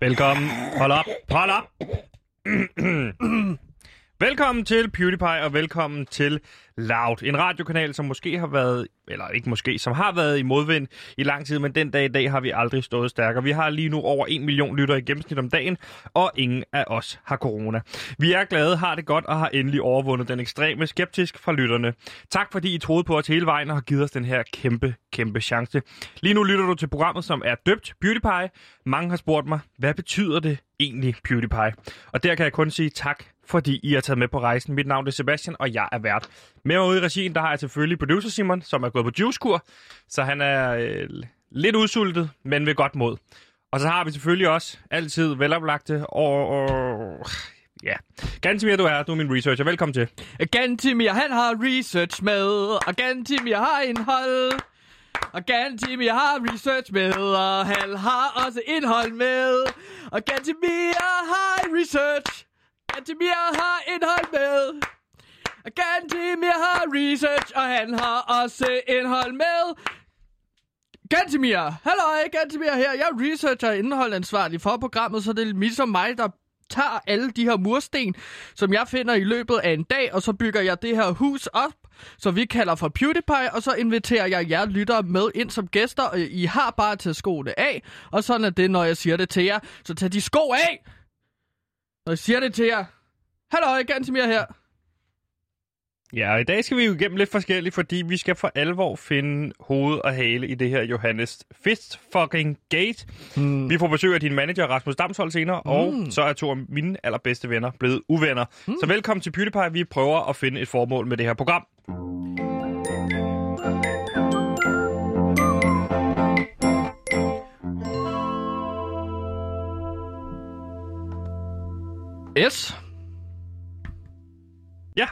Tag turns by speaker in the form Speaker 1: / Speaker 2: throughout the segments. Speaker 1: Velkommen. Hold op. Hold op. velkommen til PewDiePie, og velkommen til Loud. En radiokanal, som måske har været, eller ikke måske, som har været i modvind i lang tid, men den dag i dag har vi aldrig stået stærkere. Vi har lige nu over 1 million lyttere i gennemsnit om dagen, og ingen af os har corona. Vi er glade, har det godt og har endelig overvundet den ekstreme skeptisk fra lytterne. Tak fordi I troede på os hele vejen og har givet os den her kæmpe, kæmpe chance. Lige nu lytter du til programmet, som er døbt PewDiePie. Mange har spurgt mig, hvad betyder det egentlig PewDiePie? Og der kan jeg kun sige tak, fordi I har taget med på rejsen. Mit navn er Sebastian, og jeg er vært. Med mig ude i regien, der har jeg selvfølgelig producer Simon, som er gået på juicekur, så han er øh, lidt udsultet, men ved godt mod. Og så har vi selvfølgelig også altid veloplagte og... og ja, Gantimir, du er, du er min researcher. Velkommen til.
Speaker 2: Gantimir, han har research med, og Gantimir har indhold. Og Gantimir har research med, og han har også indhold med. Og Gantimir har research. Gantimir har indhold med. Og Gantimir har research, og han har også indhold med. Gantimir, halløj, Gantimir her. Jeg er researcher og indholdansvarlig for programmet, så det er ligesom mig, der tager alle de her mursten, som jeg finder i løbet af en dag, og så bygger jeg det her hus op, så vi kalder for PewDiePie, og så inviterer jeg jer lyttere med ind som gæster, og I har bare til skoene af, og sådan er det, når jeg siger det til jer. Så tag de sko af, når jeg siger det til jer. Hallo, Gantemir her.
Speaker 1: Ja, og i dag skal vi jo igennem lidt forskelligt, fordi vi skal for alvor finde hoved og hale i det her Johannes Fist fucking Gate. Mm. Vi får besøg af din manager Rasmus Damshold senere, mm. og så er to af mine allerbedste venner blevet uvenner. Mm. Så velkommen til PewDiePie. Vi prøver at finde et formål med det her program.
Speaker 2: Yes.
Speaker 1: Ja.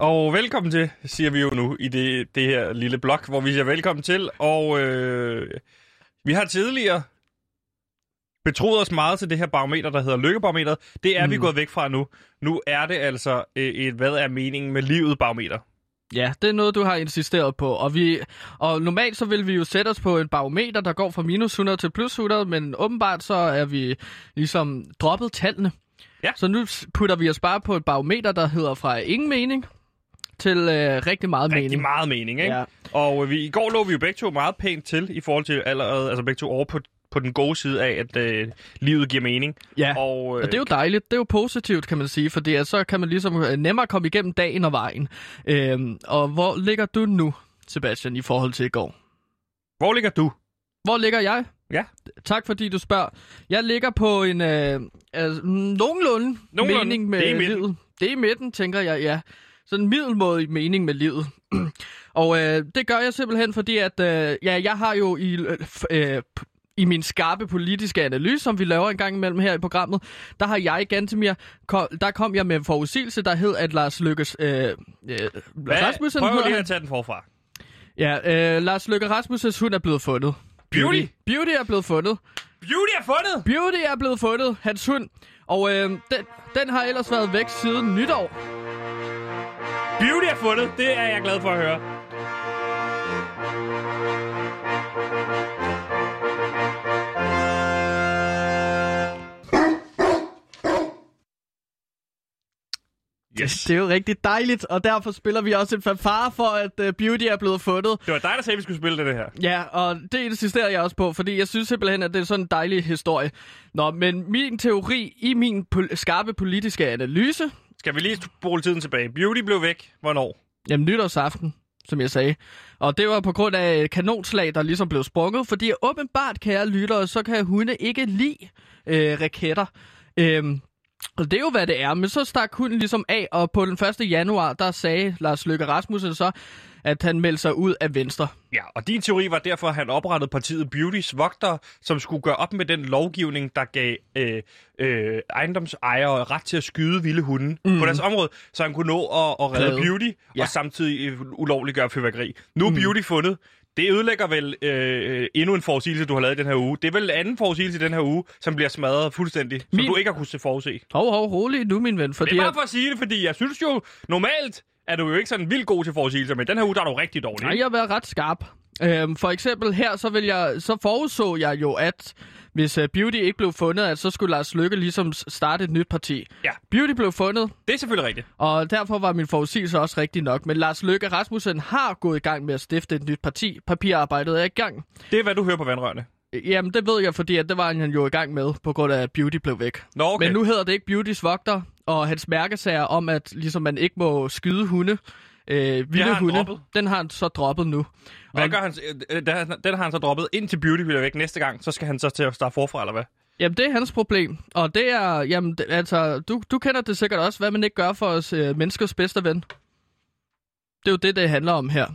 Speaker 1: Og velkommen til, siger vi jo nu i det, det her lille blog, hvor vi siger velkommen til. Og øh, vi har tidligere betroet os meget til det her barometer, der hedder lykkebarometeret. Det er mm. vi gået væk fra nu. Nu er det altså øh, et, hvad er meningen med livet barometer.
Speaker 2: Ja, det er noget, du har insisteret på. Og, vi, og normalt så vil vi jo sætte os på en barometer, der går fra minus 100 til plus 100, men åbenbart så er vi ligesom droppet tallene.
Speaker 1: Ja.
Speaker 2: Så nu s- putter vi os bare på et barometer, der hedder fra ingen mening til øh, rigtig meget
Speaker 1: Rigtig
Speaker 2: mening.
Speaker 1: meget mening, ikke?
Speaker 2: Ja.
Speaker 1: Og øh, vi, i går lå vi jo begge to meget pænt til i forhold til allerede, altså begge to over på, på den gode side af, at øh, livet giver mening.
Speaker 2: Ja.
Speaker 1: Og, øh,
Speaker 2: Og det er jo dejligt, det er jo positivt, kan man sige, fordi at så kan man ligesom øh, nemmere komme igennem dagen og vejen. Øhm, og hvor ligger du nu, Sebastian, i forhold til i går?
Speaker 1: Hvor ligger du?
Speaker 2: Hvor ligger jeg?
Speaker 1: Ja.
Speaker 2: Tak fordi du spørger. Jeg ligger på en øh, altså, mm, nogenlunde,
Speaker 1: Nogenlunde.
Speaker 2: mening med
Speaker 1: Det er i midten.
Speaker 2: livet. Det er i midten, tænker jeg, ja. Sådan en middelmådig mening med livet. og øh, det gør jeg simpelthen, fordi at, øh, ja, jeg har jo i, øh, f- øh, p- i min skarpe politiske analyse, som vi laver en gang imellem her i programmet, der har jeg igen til mere, kom, der kom jeg med en forudsigelse, der hed, at Lars Lykkes... Øh, øh, Rasmussen
Speaker 1: Prøv
Speaker 2: hedder
Speaker 1: lige
Speaker 2: han.
Speaker 1: at tage den forfra.
Speaker 2: Ja, øh, Lars Løkke Rasmussens hund er blevet fundet.
Speaker 1: Beauty?
Speaker 2: Beauty er blevet fundet.
Speaker 1: Beauty er fundet!
Speaker 2: Beauty er blevet fundet, hans hund. Og øh, den, den har ellers været væk siden nytår.
Speaker 1: Beauty er fundet, det er jeg glad for at høre. Yes.
Speaker 2: Det er jo rigtig dejligt, og derfor spiller vi også en fanfare for, at øh, Beauty er blevet fundet.
Speaker 1: Det var dig, der sagde, at vi skulle spille det her.
Speaker 2: Ja, og det insisterer jeg også på, fordi jeg synes simpelthen, at det er sådan en dejlig historie. Nå, men min teori i min pol- skarpe politiske analyse,
Speaker 1: Skal vi lige spole tiden tilbage? Beauty blev væk. Hvornår?
Speaker 2: Jamen nytårsaften, som jeg sagde. Og det var på grund af et kanonslag, der ligesom blev sprunget, fordi åbenbart, kære lyttere, så kan hunde ikke lide øh, raketter. Øhm, og det er jo, hvad det er. Men så stak hunden ligesom af, og på den 1. januar, der sagde Lars Løkke Rasmussen så, at han meldte sig ud af Venstre.
Speaker 1: Ja, og din teori var derfor, at han oprettede partiet Beautys Vogter, som skulle gøre op med den lovgivning, der gav øh, øh, ejendomsejere ret til at skyde vilde hunde mm. på deres område, så han kunne nå at, at redde
Speaker 2: Redde.
Speaker 1: Beauty ja.
Speaker 2: Ja.
Speaker 1: og samtidig øh, ulovliggøre fyrværkeri. Nu er mm. Beauty fundet. Det ødelægger vel øh, endnu en forudsigelse, du har lavet i den her uge. Det er vel anden forudsigelse i den her uge, som bliver smadret fuldstændig, som
Speaker 2: Min-
Speaker 1: du ikke har kunnet se forudse.
Speaker 2: Hov, hov, rolig nu, min ven,
Speaker 1: Det er
Speaker 2: fordi...
Speaker 1: bare for at sige det, fordi jeg synes jo normalt, er du jo ikke sådan vildt god til forudsigelser, men den her uge, der er du rigtig dårlig.
Speaker 2: Nej,
Speaker 1: ikke?
Speaker 2: jeg har været ret skarp. Øhm, for eksempel her, så, vil jeg, så forudså jeg jo, at hvis uh, Beauty ikke blev fundet, at så skulle Lars Lykke ligesom s- starte et nyt parti.
Speaker 1: Ja.
Speaker 2: Beauty blev fundet,
Speaker 1: Det er selvfølgelig rigtigt.
Speaker 2: og derfor var min forudsigelse også rigtig nok. Men Lars Løkke Rasmussen har gået i gang med at stifte et nyt parti. Papirarbejdet er i gang.
Speaker 1: Det er, hvad du hører på vandrørene.
Speaker 2: Øh, Jamen, det ved jeg, fordi at det var han jo i gang med, på grund af, at Beauty blev væk.
Speaker 1: Nå, okay.
Speaker 2: Men nu hedder det ikke Beautys Vogter, og hans mærkesager om, at ligesom man ikke må skyde hunde, øh, vilde
Speaker 1: har han
Speaker 2: hunde,
Speaker 1: droppet.
Speaker 2: den har han så droppet nu.
Speaker 1: Hvad
Speaker 2: Og-
Speaker 1: gør han? øh, øh, Den har- den har han så droppet ind til Beauty bliver væk næste gang. Så skal han så til at starte forfra, eller hvad?
Speaker 2: Jamen, det er hans problem. Og det er, jamen, det, altså, du, du kender det sikkert også, hvad man ikke gør for os øh, menneskers bedste ven. Det er jo det, det handler om her.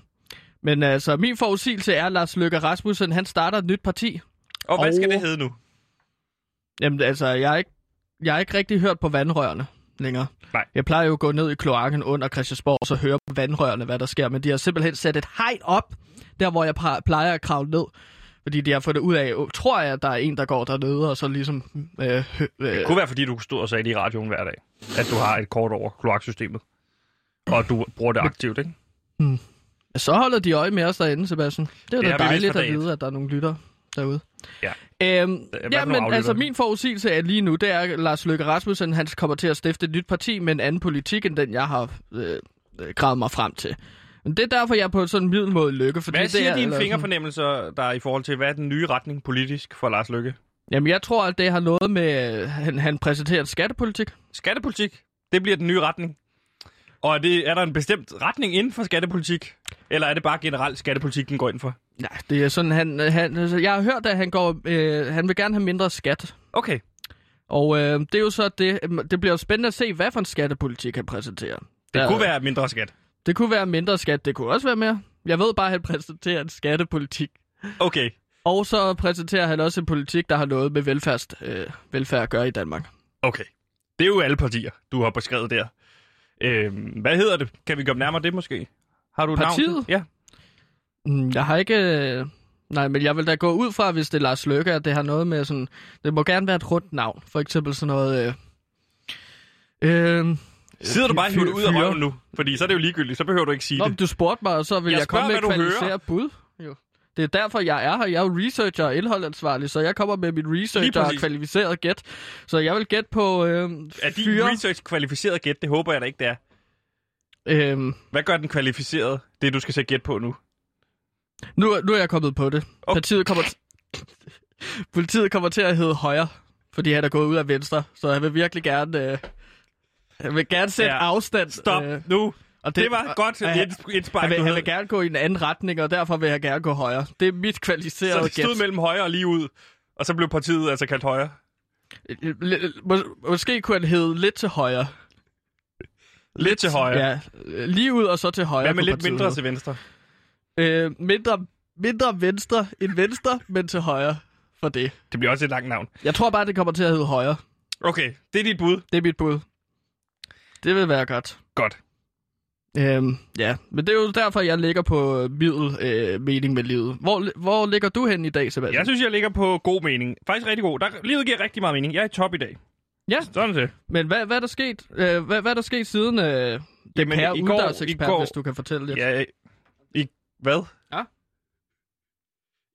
Speaker 2: Men altså, min forudsigelse er, at Lars Løkke Rasmussen, han starter et nyt parti.
Speaker 1: Og Øh. hvad skal
Speaker 2: Og-
Speaker 1: det hedde nu?
Speaker 2: Jamen, altså, jeg har ikke, jeg har ikke rigtig hørt på vandrørene længere.
Speaker 1: Nej.
Speaker 2: Jeg plejer jo at gå ned i kloakken under Christiansborg og så høre på vandrørene, hvad der sker. Men de har simpelthen sat et hegn op, der hvor jeg pa- plejer at kravle ned. Fordi de har fundet ud af, "Åh, tror jeg, at der er en, der går dernede, og så ligesom... Øh, hø- øh,
Speaker 1: Det kunne være, fordi du stod og sagde det i radioen hver dag, at du har et kort over kloaksystemet. Og at du bruger det aktivt, ikke?
Speaker 2: Ja, Så holder de øje med os derinde, Sebastian. Det er
Speaker 1: Det
Speaker 2: da
Speaker 1: har vi lidt
Speaker 2: dejligt
Speaker 1: for
Speaker 2: at
Speaker 1: dagen.
Speaker 2: vide, at der er nogle lytter derude.
Speaker 1: Ja.
Speaker 2: Øhm,
Speaker 1: nogle
Speaker 2: ja, men
Speaker 1: aflyttere?
Speaker 2: altså min forudsigelse er lige nu, det er, at Lars Løkke Rasmussen han kommer til at stifte et nyt parti med en anden politik, end den jeg har øh, øh, gravet mig frem til. Men det er derfor, jeg er på sådan en middelmåde lykke. Fordi
Speaker 1: Hvad
Speaker 2: det
Speaker 1: siger
Speaker 2: er,
Speaker 1: dine
Speaker 2: eller sådan-
Speaker 1: fingerfornemmelser, der er i forhold til, hvad er den nye retning politisk for Lars Lykke?
Speaker 2: Jamen, jeg tror, at det har noget med, øh, han, han præsenterer en skattepolitik.
Speaker 1: Skattepolitik, det bliver den nye retning. Og er, det, er der en bestemt retning inden for skattepolitik? Eller er det bare generelt skattepolitik, den går ind for?
Speaker 2: Nej, det er sådan, han, han, altså, jeg har hørt, at han, går, øh, han vil gerne have mindre skat.
Speaker 1: Okay,
Speaker 2: Og øh, det er jo så det, det bliver jo spændende at se, hvad for en skattepolitik han præsenterer.
Speaker 1: det
Speaker 2: Der-
Speaker 1: kunne være mindre skat.
Speaker 2: Det kunne være mindre skat, det kunne også være mere. Jeg ved bare, at han præsenterer en skattepolitik.
Speaker 1: Okay,
Speaker 2: Og så præsenterer han også en politik, der har noget med velfærd, øh, velfærd at gøre i Danmark.
Speaker 1: okay. Det er jo alle partier, du har beskrevet der. Øhm, hvad hedder det? Kan vi komme nærmere det måske? Har du et Navn?
Speaker 2: Partiet?
Speaker 1: Ja.
Speaker 2: Mm, Jeg har ikke... Øh, nej, men jeg vil da gå ud fra, hvis det er Lars Løkke, at det har noget med sådan... Det må gerne være et rundt navn. For eksempel sådan noget... Øh, øh,
Speaker 1: Sidder du bare og hiver det ud af
Speaker 2: fyre.
Speaker 1: røven nu? Fordi så er det jo ligegyldigt, så behøver du ikke sige
Speaker 2: Nå,
Speaker 1: det.
Speaker 2: men du spurgte mig, og så vil
Speaker 1: Jeg
Speaker 2: jeg,
Speaker 1: spørger,
Speaker 2: komme med et
Speaker 1: hvad du hører.
Speaker 2: kvalificeret bud. Jo. Det er derfor, jeg er her. Jeg er jo researcher og indholdansvarlig, så jeg kommer med mit researcher og
Speaker 1: præcis.
Speaker 2: kvalificeret gæt. Så jeg vil gætte på øh,
Speaker 1: Er din
Speaker 2: fyre.
Speaker 1: research kvalificeret gæt? Det håber jeg da ikke, det er.
Speaker 2: Øhm,
Speaker 1: Hvad gør den kvalificeret? Det, du skal sætte gæt på nu.
Speaker 2: nu, er- nu er jeg kommet på det.
Speaker 1: Okay.
Speaker 2: Okay. Partiet kommer t- Politiet kommer til at hedde Højre, fordi han er gået ud af Venstre. Så jeg vil virkelig gerne... Øh, jeg vil gerne sætte
Speaker 1: Ja.
Speaker 2: ja. afstand.
Speaker 1: Stop
Speaker 2: øh,
Speaker 1: nu.
Speaker 2: og
Speaker 1: Det var godt
Speaker 2: og-
Speaker 1: et, et spark,
Speaker 2: Han
Speaker 1: du
Speaker 2: vil, han
Speaker 1: havde.
Speaker 2: vil gerne gå i en anden retning, og derfor vil jeg gerne gå højre. Det er mit
Speaker 1: Så
Speaker 2: kvalificerede
Speaker 1: det
Speaker 2: gæt.
Speaker 1: stod mellem højre og lige ud. Og så blev partiet altså kaldt højre.
Speaker 2: L- mås- måske kunne han hedde lidt til højre.
Speaker 1: Lidt til højre.
Speaker 2: Ja, øh, lige ud og så til højre.
Speaker 1: Hvad med
Speaker 2: på
Speaker 1: lidt
Speaker 2: partiet.
Speaker 1: mindre til venstre?
Speaker 2: Øh, mindre, mindre venstre end venstre, men til højre for det.
Speaker 1: Det bliver også et langt navn.
Speaker 2: Jeg tror bare, det kommer til at hedde højre.
Speaker 1: Okay, det er dit bud.
Speaker 2: Det er mit bud. Det vil være godt.
Speaker 1: Godt.
Speaker 2: Øhm, ja, men det er jo derfor, jeg ligger på øh, middel øh, mening med livet. Hvor, hvor ligger du hen i dag, Sebastian?
Speaker 1: Jeg synes, jeg ligger på god mening. Faktisk rigtig god. Der, livet giver rigtig meget mening. Jeg er i top i dag.
Speaker 2: Ja.
Speaker 1: Sådan det.
Speaker 2: Men hvad, hvad, er der sket, øh, hvad, hvad er der sket siden øh, den
Speaker 1: Jamen,
Speaker 2: her
Speaker 1: i går- i
Speaker 2: udendørsekspert,
Speaker 1: går-
Speaker 2: hvis du kan fortælle lidt?
Speaker 1: Ja, i, hvad?
Speaker 2: Ja.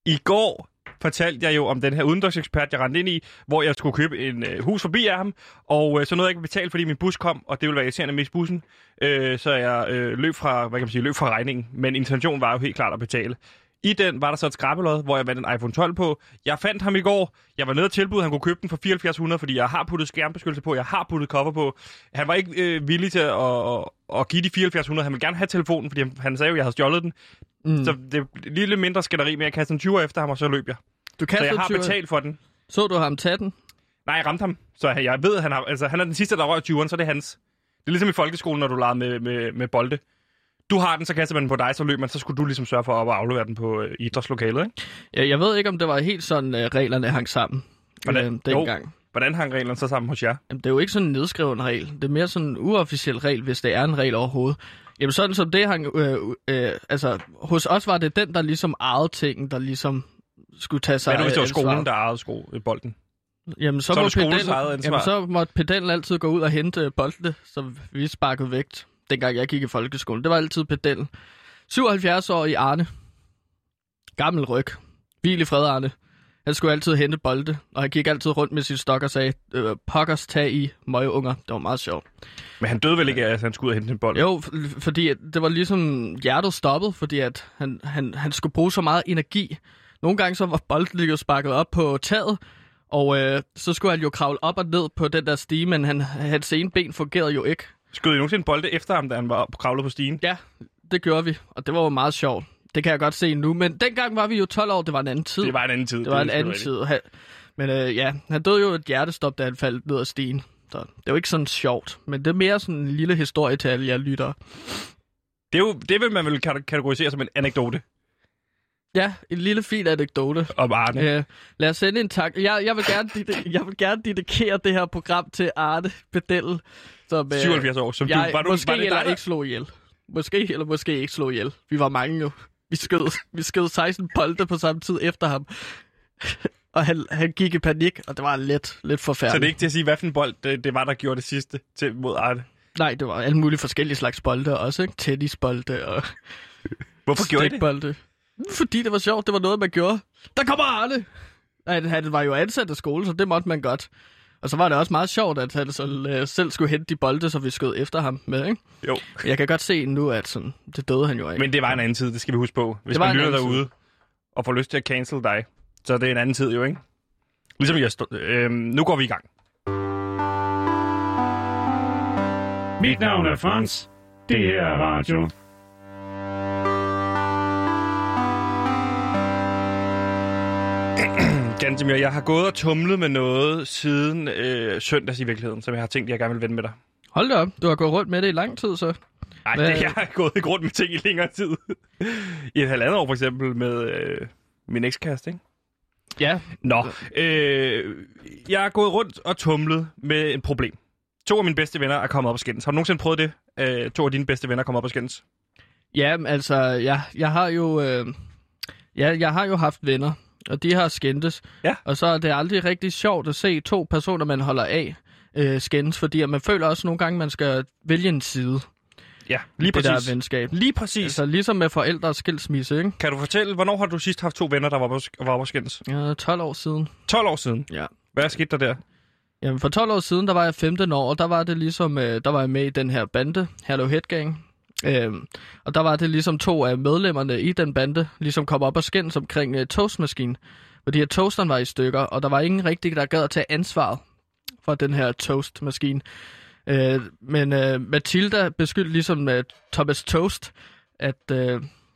Speaker 1: I går fortalte jeg jo om den her udendørsekspert, jeg rendte ind i, hvor jeg skulle købe en øh, hus forbi af ham, og øh, så nåede jeg ikke at betale, fordi min bus kom, og det ville være irriterende at miste bussen, øh, så jeg øh, løb, fra, hvad kan man sige, løb fra regningen, men intentionen var jo helt klart at betale. I den var der så et skrabbelod, hvor jeg vandt en iPhone 12 på. Jeg fandt ham i går. Jeg var nede og tilbud, han kunne købe den for 7400, fordi jeg har puttet skærmbeskyttelse på, jeg har puttet cover på. Han var ikke øh, villig til at, at, at give de 7400. Han ville gerne have telefonen, fordi han, han sagde jo, at jeg havde stjålet den. Mm.
Speaker 2: Mm.
Speaker 1: Så det er et lille mindre skænderi med at kaste en 20 efter ham, og så løb jeg.
Speaker 2: du
Speaker 1: Så
Speaker 2: kastede
Speaker 1: jeg har
Speaker 2: tyven.
Speaker 1: betalt for den.
Speaker 2: Så du ham tage den?
Speaker 1: Nej, jeg ramte ham. Så jeg jeg ved, at han, har, altså, han er den sidste, der rører 20'eren, så er det hans. Det er ligesom i folkeskolen, når du leger med, med, med bolde. Du har den, så kaster man den på dig, så løb man, så skulle du ligesom sørge for at op- og aflevere den på øh, idrætslokalet, ikke?
Speaker 2: Jeg, jeg ved ikke, om det var helt sådan, øh, reglerne hang sammen
Speaker 1: Hvordan?
Speaker 2: øh, dengang. Jo.
Speaker 1: Hvordan hang reglerne så sammen hos jer?
Speaker 2: Jamen, det er jo ikke sådan en nedskreven regel. Det er mere sådan en uofficiel regel, hvis det er en regel overhovedet. Jamen sådan som det hang... Øh, øh, altså, hos os var det den, der ligesom ejede tingen, der ligesom skulle tage sig
Speaker 1: Hvad er det,
Speaker 2: af
Speaker 1: hvis det var skolen,
Speaker 2: ansvaret.
Speaker 1: der ejede sko, øh, bolden?
Speaker 2: Jamen, så,
Speaker 1: Så er
Speaker 2: må
Speaker 1: det skolens eget
Speaker 2: pedellen,
Speaker 1: ansvar.
Speaker 2: jamen, så måtte pedellen altid gå ud og hente øh, boldene, som vi sparkede vægt. dengang jeg gik i folkeskolen. Det var altid pedel. 77 år i Arne. Gammel ryg. Hvil i fred, Arne. Han skulle altid hente bolde, og han gik altid rundt med sin stok og sagde, øh, pokkers tag i møgeunger. Det var meget sjovt.
Speaker 1: Men han døde vel ikke af, at han skulle ud og hente en bold?
Speaker 2: Jo, f- fordi at det var ligesom hjertet stoppede, fordi at han, han, han skulle bruge så meget energi. Nogle gange så var bolden jo sparket op på taget, og øh, så skulle han jo kravle op og ned på den der stige, men han, hans ene ben fungerede jo ikke.
Speaker 1: Skød I nogensinde bolde efter ham, da han var op- kravlet på stigen?
Speaker 2: Ja, det gjorde vi, og det var jo meget sjovt. Det kan jeg godt se nu, men dengang var vi jo 12 år, det var en anden tid.
Speaker 1: Det var en anden tid.
Speaker 2: det var en
Speaker 1: er
Speaker 2: anden
Speaker 1: rigtigt.
Speaker 2: tid. Han, men øh, ja, han døde jo af et hjertestop, da han faldt ned ad stigen. Så det er jo ikke sådan sjovt, men det er mere sådan en lille historie til alle jer lyttere.
Speaker 1: Det, er jo, det vil man vel kate- kategorisere som en anekdote
Speaker 2: Ja, en lille fin anekdote.
Speaker 1: om Arne. Ja.
Speaker 2: Øh, lad os sende en tak. Jeg, jeg, vil gerne dide- jeg vil gerne dedikere det her program til Arne Bedell. Som, øh,
Speaker 1: 77 år. Som
Speaker 2: jeg,
Speaker 1: du, var du,
Speaker 2: måske
Speaker 1: var det
Speaker 2: eller
Speaker 1: dig, der-
Speaker 2: ikke slog ihjel. Måske eller måske ikke slog ihjel. Vi var mange jo. Vi skød, vi skød 16 bolde på samme tid efter ham. og han, han gik i panik, og det var lidt, lidt
Speaker 1: Så
Speaker 2: forfærdeligt.
Speaker 1: det er ikke til at sige, hvad for en bold det, det var, der gjorde det sidste til, mod Arne.
Speaker 2: Nej, det var alle mulige forskellige slags bolde også, ikke? Tennisbolde og
Speaker 1: Hvorfor gjorde I det?
Speaker 2: stikbolde. Fordi det var sjovt, det var noget, man gjorde. Der kommer Arne! Han, han var jo ansat af skole, så det måtte man godt. Og så var det også meget sjovt, at han så, øh, selv skulle hente de bolde, så vi skød efter ham med, ikke?
Speaker 1: Jo.
Speaker 2: Jeg kan godt se nu, at sådan, det døde han jo af.
Speaker 1: Men det var en anden tid, det skal vi huske på. Hvis
Speaker 2: Det var
Speaker 1: man
Speaker 2: en
Speaker 1: lytter
Speaker 2: anden tid.
Speaker 1: derude og får lyst til at cancel dig, så er det en anden tid jo, ikke? Ligesom jeg stod, øhm, Nu går vi i gang.
Speaker 3: Mit navn er Frans. Det her er radio.
Speaker 1: Gansimir, jeg har gået og tumlet med noget siden øh, søndags i virkeligheden, som jeg har tænkt, jeg gerne vil vende med dig.
Speaker 2: Hold da op, du har gået rundt med det i lang tid, så.
Speaker 1: Nej,
Speaker 2: Hvad-
Speaker 1: jeg har gået i grund med ting i længere tid. I et halvandet år for eksempel med øh, min ekskæreste, ikke?
Speaker 2: Ja,
Speaker 1: Nå, øh, jeg er gået rundt og tumlet med et problem. To af mine bedste venner er kommet op og skændes. Har du nogensinde prøvet det? Øh, to af dine bedste venner kommer op og skændes.
Speaker 2: ja men altså, jeg, jeg har jo... Øh, ja, jeg har jo haft venner, og de har skændtes.
Speaker 1: Ja.
Speaker 2: Og så er det aldrig rigtig sjovt at se to personer, man holder af, øh, skændes, fordi at man føler også nogle gange, man skal vælge en side.
Speaker 1: Ja, lige
Speaker 2: det
Speaker 1: præcis.
Speaker 2: der venskab.
Speaker 1: Lige præcis.
Speaker 2: Altså ligesom med forældre og skilsmisse, ikke?
Speaker 1: Kan du fortælle, hvornår har du sidst haft to venner, der var op og sk- var op og skændes?
Speaker 2: Ja, 12 år siden.
Speaker 1: 12 år siden.
Speaker 2: Ja.
Speaker 1: Hvad skete der der?
Speaker 2: Jamen for 12 år siden, der var jeg 15 år, og der var det ligesom, øh, der var jeg med i den her bande, Hello Head Gang. Øhm, og der var det ligesom to af medlemmerne i den bande, ligesom kom op og skændes omkring øh, toastmaskinen. Fordi at toasteren var i stykker, og der var ingen rigtig, der gad at tage ansvaret for den her toastmaskine. Øh, men øh, Matilda beskyldte ligesom øh, Thomas Toast, at øh,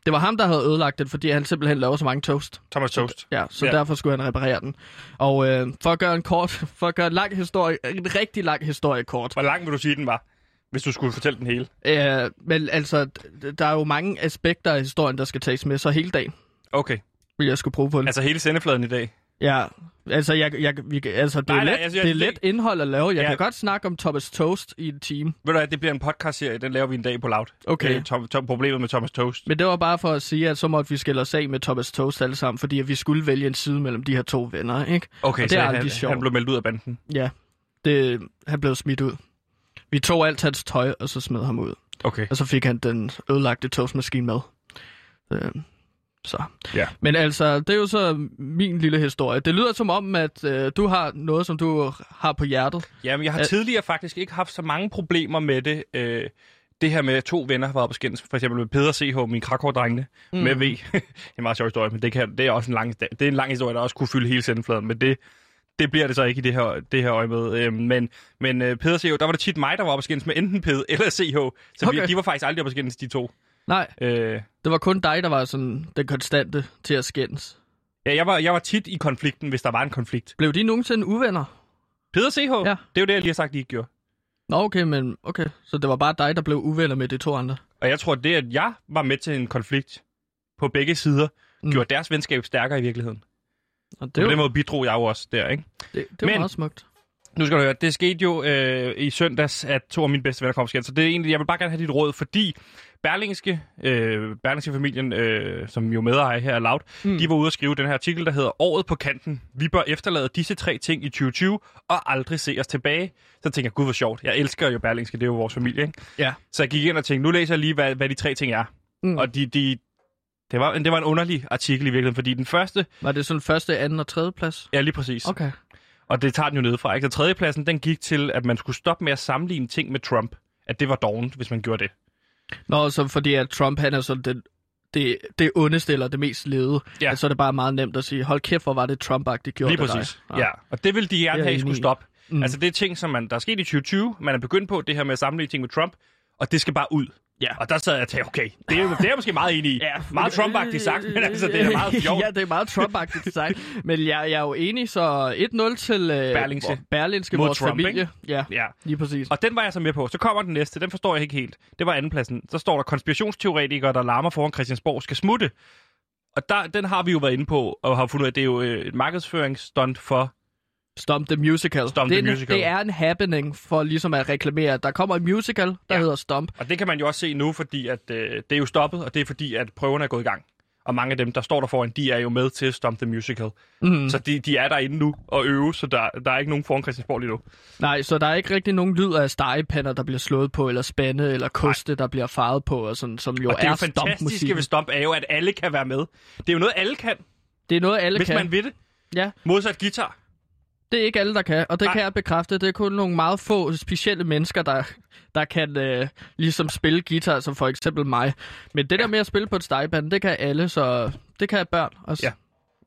Speaker 2: det var ham, der havde ødelagt den, fordi han simpelthen lavede så mange toast.
Speaker 1: Thomas Toast.
Speaker 2: Ja, så
Speaker 1: Ja.
Speaker 2: ja. derfor skulle han reparere den. Og øh, for at gøre en kort, for at gøre en lang historie, en rigtig lang historie kort.
Speaker 1: Hvor lang vil du sige, den var? Hvis du skulle fortælle den hele.
Speaker 2: Øh, men altså, d- der er jo mange aspekter af historien, der skal tages med, så hele dagen
Speaker 1: Okay.
Speaker 2: vil jeg skulle prøve på det.
Speaker 1: Altså hele sendefladen i dag.
Speaker 2: Ja, altså, jeg, jeg, vi, kan- altså det er,
Speaker 1: Nej, nej,
Speaker 2: let,
Speaker 1: jeg siger-
Speaker 2: det er let indhold at lave. Jeg
Speaker 1: Ja.
Speaker 2: kan godt snakke om Thomas Toast i en time.
Speaker 1: Ved du hvad, det bliver en podcast-serie, den laver vi en dag på Loud.
Speaker 2: Okay.
Speaker 1: Øh, Tom, Tom, problemet med Thomas Toast.
Speaker 2: Men det var bare for at sige, at så måtte vi skille os af med Thomas Toast alle sammen, fordi at vi skulle vælge en side mellem de her to venner, ikke?
Speaker 1: Okay,
Speaker 2: Og det
Speaker 1: så
Speaker 2: er aldrig
Speaker 1: han,
Speaker 2: sjovt.
Speaker 1: han blev meldt ud af banden.
Speaker 2: Ja, det, han blev smidt ud. Vi tog alt hans tøj, og så smed ham ud.
Speaker 1: Okay.
Speaker 2: Og så fik han den ødelagte toastmaskine med. Øh, så.
Speaker 1: Ja.
Speaker 2: Men altså, det er jo så min lille historie. Det lyder som om, at øh, du har noget, som du har på hjertet.
Speaker 1: Jamen, jeg har
Speaker 2: Ja.
Speaker 1: tidligere faktisk ikke haft så mange problemer med det. Øh, det her med, at to venner var op og skændes, for eksempel med Peder CH, min krakkordrengene, mm. med V. det er en meget sjov historie, men det, kan, det, er også en lang, det er en lang historie, der også kunne fylde hele sendefladen, men det, det bliver det så ikke i det her, det her øje med. Øh, men men øh, Peder CH, der var det tit mig, der var op og skændes med enten Peder eller CH, så okay.
Speaker 2: Okay.
Speaker 1: vi, de var faktisk aldrig op og skændes, de to.
Speaker 2: Nej,
Speaker 1: Øh,
Speaker 2: det var kun dig, der var sådan den konstante til at skændes.
Speaker 1: ja, jeg var, jeg var tit i konflikten, hvis der var en konflikt.
Speaker 2: Blev de nogensinde uvenner?
Speaker 1: Peder CH,
Speaker 2: Ja.
Speaker 1: ja. det er jo det, jeg lige har sagt, de ikke gjorde.
Speaker 2: Nå, okay, men okay. Så det var bare dig, der blev uvenner med de to andre.
Speaker 1: Og jeg tror, det, at jeg var med til en konflikt på begge sider, mm.
Speaker 2: Mm.
Speaker 1: gjorde deres venskab stærkere i virkeligheden.
Speaker 2: Og det,
Speaker 1: Det
Speaker 2: var,
Speaker 1: på den
Speaker 2: det,
Speaker 1: måde bidrog jeg jo også der, ikke?
Speaker 2: det var
Speaker 1: Men-
Speaker 2: meget smukt.
Speaker 1: Nu skal du høre, det skete jo øh, i søndags, at to af mine bedste venner kom skændt, så det er egentlig, jeg vil bare gerne have dit råd, fordi Berlingske, øh, Berlingske-familien, øh, som jo medejer her er Loud, mm. de var ude og skrive den her artikel, der hedder Året på kanten. Vi bør efterlade disse tre ting i 2020 og aldrig se os tilbage. Så tænker jeg, gud hvor sjovt. Jeg elsker jo Berlingske, det er jo vores familie. Ikke?
Speaker 2: Ja.
Speaker 1: Så jeg gik ind og tænkte, nu læser jeg lige, hvad, hvad de tre ting er.
Speaker 2: Mm.
Speaker 1: Mm. Og de, de, det, var, det var en underlig artikel i virkeligheden, fordi den første,
Speaker 2: Var det sådan første, anden og tredje plads?
Speaker 1: ja lige præcis, okay.
Speaker 2: Okay.
Speaker 1: og det tager den jo nedefra. Ikke? Så tredjepladsen, den gik til, at man skulle stoppe med at sammenligne ting med Trump. At det var dovent, hvis man gjorde det.
Speaker 2: Nå, så fordi at Trump, han er sådan den, det, det ondeste eller det mest lede.
Speaker 1: Ja.
Speaker 2: Så er det bare meget nemt at sige, hold kæft, hvor var det Trump-agtigt gjort
Speaker 1: Lige
Speaker 2: af dig.
Speaker 1: præcis. Ja. Og det ville de
Speaker 2: Det er
Speaker 1: gerne have, I
Speaker 2: jeg enig
Speaker 1: skulle
Speaker 2: i.
Speaker 1: stoppe.
Speaker 2: Mm.
Speaker 1: Mm. Altså det er ting, som man, der er sket i 2020, man er begyndt på, det her med at sammenligne ting med Trump, og det skal bare ud.
Speaker 2: Ja.
Speaker 1: Og der sad jeg og tænkte, okay, det er, jo- det er jeg måske meget enig i.
Speaker 2: Ja.
Speaker 1: Meget Trump-agtigt sagt, men altså, det er meget sjovt.
Speaker 2: ja, det er meget Trump-agtigt sagt. Men jeg, jeg er jo enig, så 1-0 til øh,
Speaker 1: Berlingske.
Speaker 2: vor- Berlingske
Speaker 1: Mod
Speaker 2: vores
Speaker 1: Trump,
Speaker 2: familie.
Speaker 1: ikke?
Speaker 2: Ja,
Speaker 1: Ja.
Speaker 2: lige præcis.
Speaker 1: Og den var jeg så med på. Så kommer den næste, den forstår jeg ikke helt. Det var andenpladsen. Så står der konspirationsteoretikere, der larmer foran Christiansborg, skal smutte. Og der, den har vi jo været inde på, og har fundet ud af, at det er jo øh, et markedsføringsstunt for...
Speaker 2: Stomp the Musical.
Speaker 1: Stomp the
Speaker 2: det, er en-
Speaker 1: Musical.
Speaker 2: Det er en happening for ligesom at reklamere, at der kommer en musical, der
Speaker 1: Ja.
Speaker 2: hedder Stomp.
Speaker 1: Og det kan man jo også se nu, fordi at, øh, det er jo stoppet, og det er fordi, at prøverne er gået i gang. Og mange af dem, der står der foran, de er jo med til Stomp the Musical.
Speaker 2: Mm.
Speaker 1: Så de, de er derinde nu og øve, så der, der er ikke nogen foran Christiansborg lige nu.
Speaker 2: Nej, så der er ikke rigtig nogen lyd af stegepander, der bliver slået på, eller spande, eller koste, der bliver faret på, og sådan, som jo
Speaker 1: Og det er
Speaker 2: er
Speaker 1: jo fantastiske
Speaker 2: stompmusik.
Speaker 1: ved Stomp, er jo, at alle kan være med. Det er jo noget, alle kan,
Speaker 2: Det er noget, alle
Speaker 1: hvis
Speaker 2: kan.
Speaker 1: man vil det.
Speaker 2: Ja.
Speaker 1: Modsat guitar.
Speaker 2: Det er ikke alle, der kan, og det
Speaker 1: Nej.
Speaker 2: kan jeg bekræfte. Det er kun nogle meget få specielle mennesker, der, der kan øh, ligesom spille guitar, som for eksempel mig. Men det der med at spille på et stegepande, det kan alle, så det kan børn også.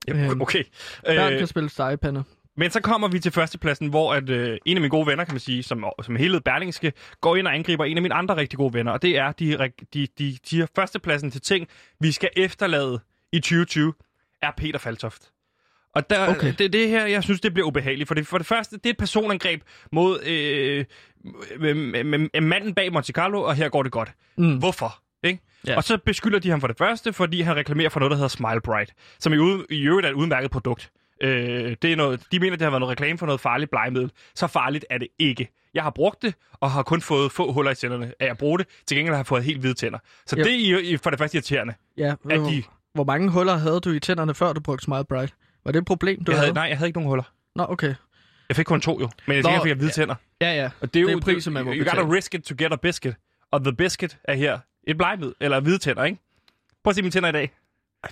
Speaker 1: Ja.
Speaker 2: Øhm,
Speaker 1: Ja, okay.
Speaker 2: Børn
Speaker 1: Øh,
Speaker 2: kan spille stegepande.
Speaker 1: Men så kommer vi til førstepladsen, hvor at, øh, en af mine gode venner, kan man sige, som, som hele Berlingske, går ind og angriber en af mine andre rigtig gode venner, og det er, de, reg- de, de, de har førstepladsen til ting, vi skal efterlade i 2020, er Peter Faltoft. Og der,
Speaker 2: Okay.
Speaker 1: okay. det, det her, jeg synes, det bliver ubehageligt, for det, for det første, det er et personangreb mod øh, m- m- m- manden bag Monte Carlo, og her går det godt.
Speaker 2: Mm.
Speaker 1: Hvorfor? Ikke?
Speaker 2: Ja.
Speaker 1: Ja. Og så beskylder de ham for det første, fordi han reklamerer for noget, der hedder Smile Bright, som i, ude, i øvrigt er et udmærket produkt. Øh, det er noget, de mener, det har været noget reklame for noget farligt blegemiddel. Så farligt er det ikke. Jeg har brugt det, og har kun fået få huller i tænderne af at bruge det. Til gengæld har jeg fået helt hvide tænder. Så
Speaker 2: Ja.
Speaker 1: yep. det er i- i- for det første irriterende.
Speaker 2: Ja,
Speaker 1: At
Speaker 2: hvor,
Speaker 1: de-
Speaker 2: hvor mange huller havde du i tænderne, før du brugte Smile Bright? Var det et problem, du
Speaker 1: Jeg havde,
Speaker 2: havde?
Speaker 1: nej, jeg havde ikke nogen huller.
Speaker 2: Nå, okay.
Speaker 1: Jeg fik kun to jo, men jeg
Speaker 2: Nå,
Speaker 1: tænker, jeg fik hvide tænder.
Speaker 2: Ja, ja.
Speaker 1: Og det er,
Speaker 2: Det er
Speaker 1: jo
Speaker 2: prisen, man må
Speaker 1: You
Speaker 2: betale.
Speaker 1: gotta risk it to get a biscuit. Og the biscuit er her et blegemiddel, eller hvide tænder, ikke? Prøv at se mine tænder i dag.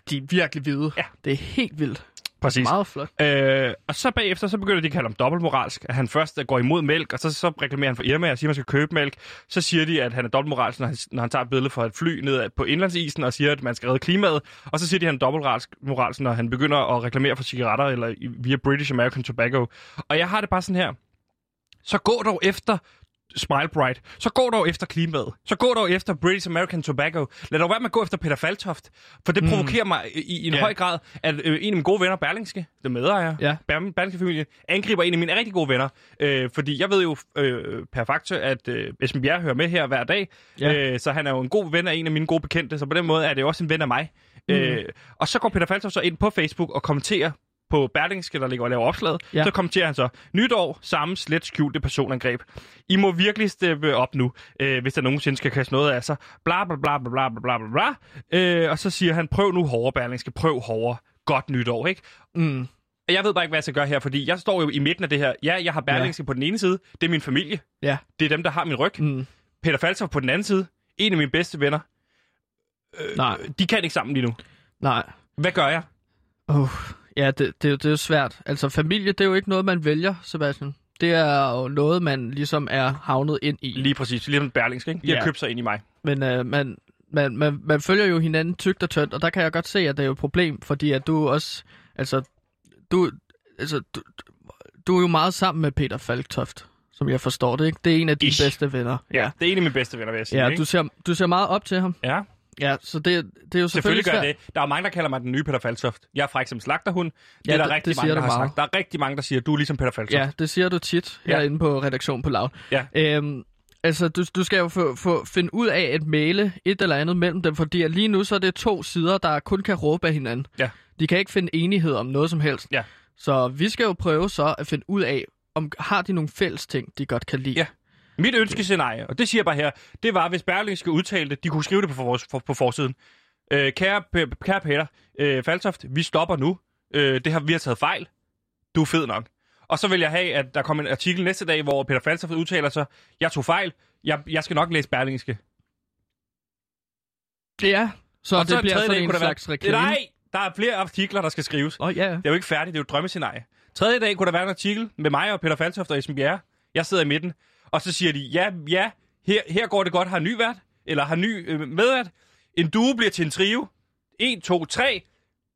Speaker 2: De er virkelig hvide.
Speaker 1: Ja.
Speaker 2: Det er helt vildt.
Speaker 1: Præcis.
Speaker 2: Meget flot.
Speaker 1: Øh, og så bagefter, så begynder de at kalde ham dobbeltmoralsk. At han først går imod mælk, og så, så reklamerer han for Irma og siger, at man skal købe mælk. Så siger de, at han er dobbeltmoralsk, når han, når han tager et billede fra et fly ned ad- på indlandsisen og siger, at man skal redde klimaet. Og så siger de, at han er dobbeltmoralsk, moralsk, når han begynder at reklamere for cigaretter eller i- via British American Tobacco. Og jeg har det bare sådan her. Så gå dog efter Smile Bright. Så gå dog efter klimaet. Så gå dog efter British American Tobacco. Lad dog være med at gå efter Peter Faltoft. For det provokerer mig i, i en
Speaker 2: Ja.
Speaker 1: høj grad, at øh, en af mine gode venner, Berlingske, det medejer,
Speaker 2: Ja.
Speaker 1: Ber- Berlingske familie, angriber en af mine rigtig gode venner. Øh, fordi jeg ved jo øh, per facto, at øh, Esben Bjerre hører med her hver dag.
Speaker 2: Ja.
Speaker 1: Ja. Øh, så han er jo en god ven af en af mine gode bekendte. Så på den måde er det jo også en ven af mig. Mm. Øh, og så går Peter Faltoft så ind på Facebook og kommenterer på Berlingske, der ligger og laver opslaget,
Speaker 2: Ja.
Speaker 1: ja. så kommenterer han så, nytår, samme slet skjulte personangreb. I må virkelig steppe op nu, øh, hvis der nogensinde skal kaste noget af sig. Bla bla bla bla bla bla bla bla. bla. Øh, og så siger han, prøv nu hårdere, Berlingske, prøv hårdere. Godt nytår, ikke?
Speaker 2: Mm.
Speaker 1: Og Jeg ved bare ikke, hvad jeg skal gøre her, fordi jeg står jo i midten af det her. Ja, jeg har Berlingske ja. på den ene side, det er min familie,
Speaker 2: Ja.
Speaker 1: det er dem, der har min ryg.
Speaker 2: Mm.
Speaker 1: Peter Falsoff på den anden side, en af mine bedste venner. Øh,
Speaker 2: Nej,
Speaker 1: De kan ikke sammen lige nu.
Speaker 2: nej.
Speaker 1: Hvad gør jeg?
Speaker 2: Oh, ja, det, det, det er jo svært. Altså, familie, det er jo ikke noget, man vælger, Sebastian. Det er jo noget, man ligesom er havnet ind i.
Speaker 1: Lige præcis, lige om Berlingske, ikke? De
Speaker 2: Ja.
Speaker 1: har købt sig ind i mig.
Speaker 2: Men øh, man, man, man, man følger jo hinanden tygt og tyndt, og der kan jeg godt se, at det er jo et problem, fordi at du også... Altså, du, altså, du, du er jo meget sammen med Peter Falktoft, som jeg forstår det, ikke? Det er en af dine
Speaker 1: Ish.
Speaker 2: bedste venner.
Speaker 1: Ja. Det er en af mine bedste venner, vil jeg sige.
Speaker 2: Ja,
Speaker 1: ikke?
Speaker 2: du ser, du ser meget op til ham.
Speaker 1: ja.
Speaker 2: Ja, så det, det er jo selvfølgelig,
Speaker 1: Selvfølgelig gør
Speaker 2: svært.
Speaker 1: jeg det. Der er mange, der kalder mig den nye Peter Falsoft. Jeg er fræk som slagterhund. Det
Speaker 2: Ja,
Speaker 1: ja, er
Speaker 2: det-
Speaker 1: der rigtig
Speaker 2: det siger
Speaker 1: mange, der
Speaker 2: du
Speaker 1: har
Speaker 2: meget.
Speaker 1: sagt. Der er rigtig mange, der siger, du er ligesom Peter Falsoft.
Speaker 2: Ja, det siger du tit
Speaker 1: Ja.
Speaker 2: herinde på redaktion på Loud.
Speaker 1: Ja.
Speaker 2: Øhm, altså, du, du skal jo få, få, finde ud af at male et eller andet mellem dem, fordi at lige nu så er det to sider, der kun kan råbe af hinanden.
Speaker 1: Ja.
Speaker 2: De kan ikke finde enighed om noget som helst.
Speaker 1: Ja.
Speaker 2: Så vi skal jo prøve så at finde ud af, om har de nogle fælles ting, de godt kan lide.
Speaker 1: Ja. Mit ønskescenarie, og det siger jeg bare her, det var, hvis Berlingske udtalte, de kunne skrive det på, for vores, for, på forsiden. Øh, kære, P- kære Peter øh, Faltoft, vi stopper nu. Øh, det har vi har taget fejl. Du er fed nok. Og så vil jeg have, at der kommer en artikel næste dag, hvor Peter Faltoft udtaler sig, jeg tog fejl, jeg, jeg skal nok læse Berlingske.
Speaker 2: Ja, så,
Speaker 1: Og,
Speaker 2: det
Speaker 1: en
Speaker 2: bliver
Speaker 1: tredje dag
Speaker 2: sådan en
Speaker 1: kunne der
Speaker 2: slags
Speaker 1: være...
Speaker 2: reklame.
Speaker 1: Nej, der er flere artikler, der skal skrives.
Speaker 2: Åh, oh, ja.
Speaker 1: Det er jo ikke færdigt, det er jo et drømmescenarie. Tredje dag kunne der være en artikel med mig og Peter Faltoft og Esben Bjerre. Jeg sidder i midten, og så siger de, ja, ja, her, her går det godt, har ny vært, eller har ny øh, medvært. En duo bliver til en trio. 1, 2, 3.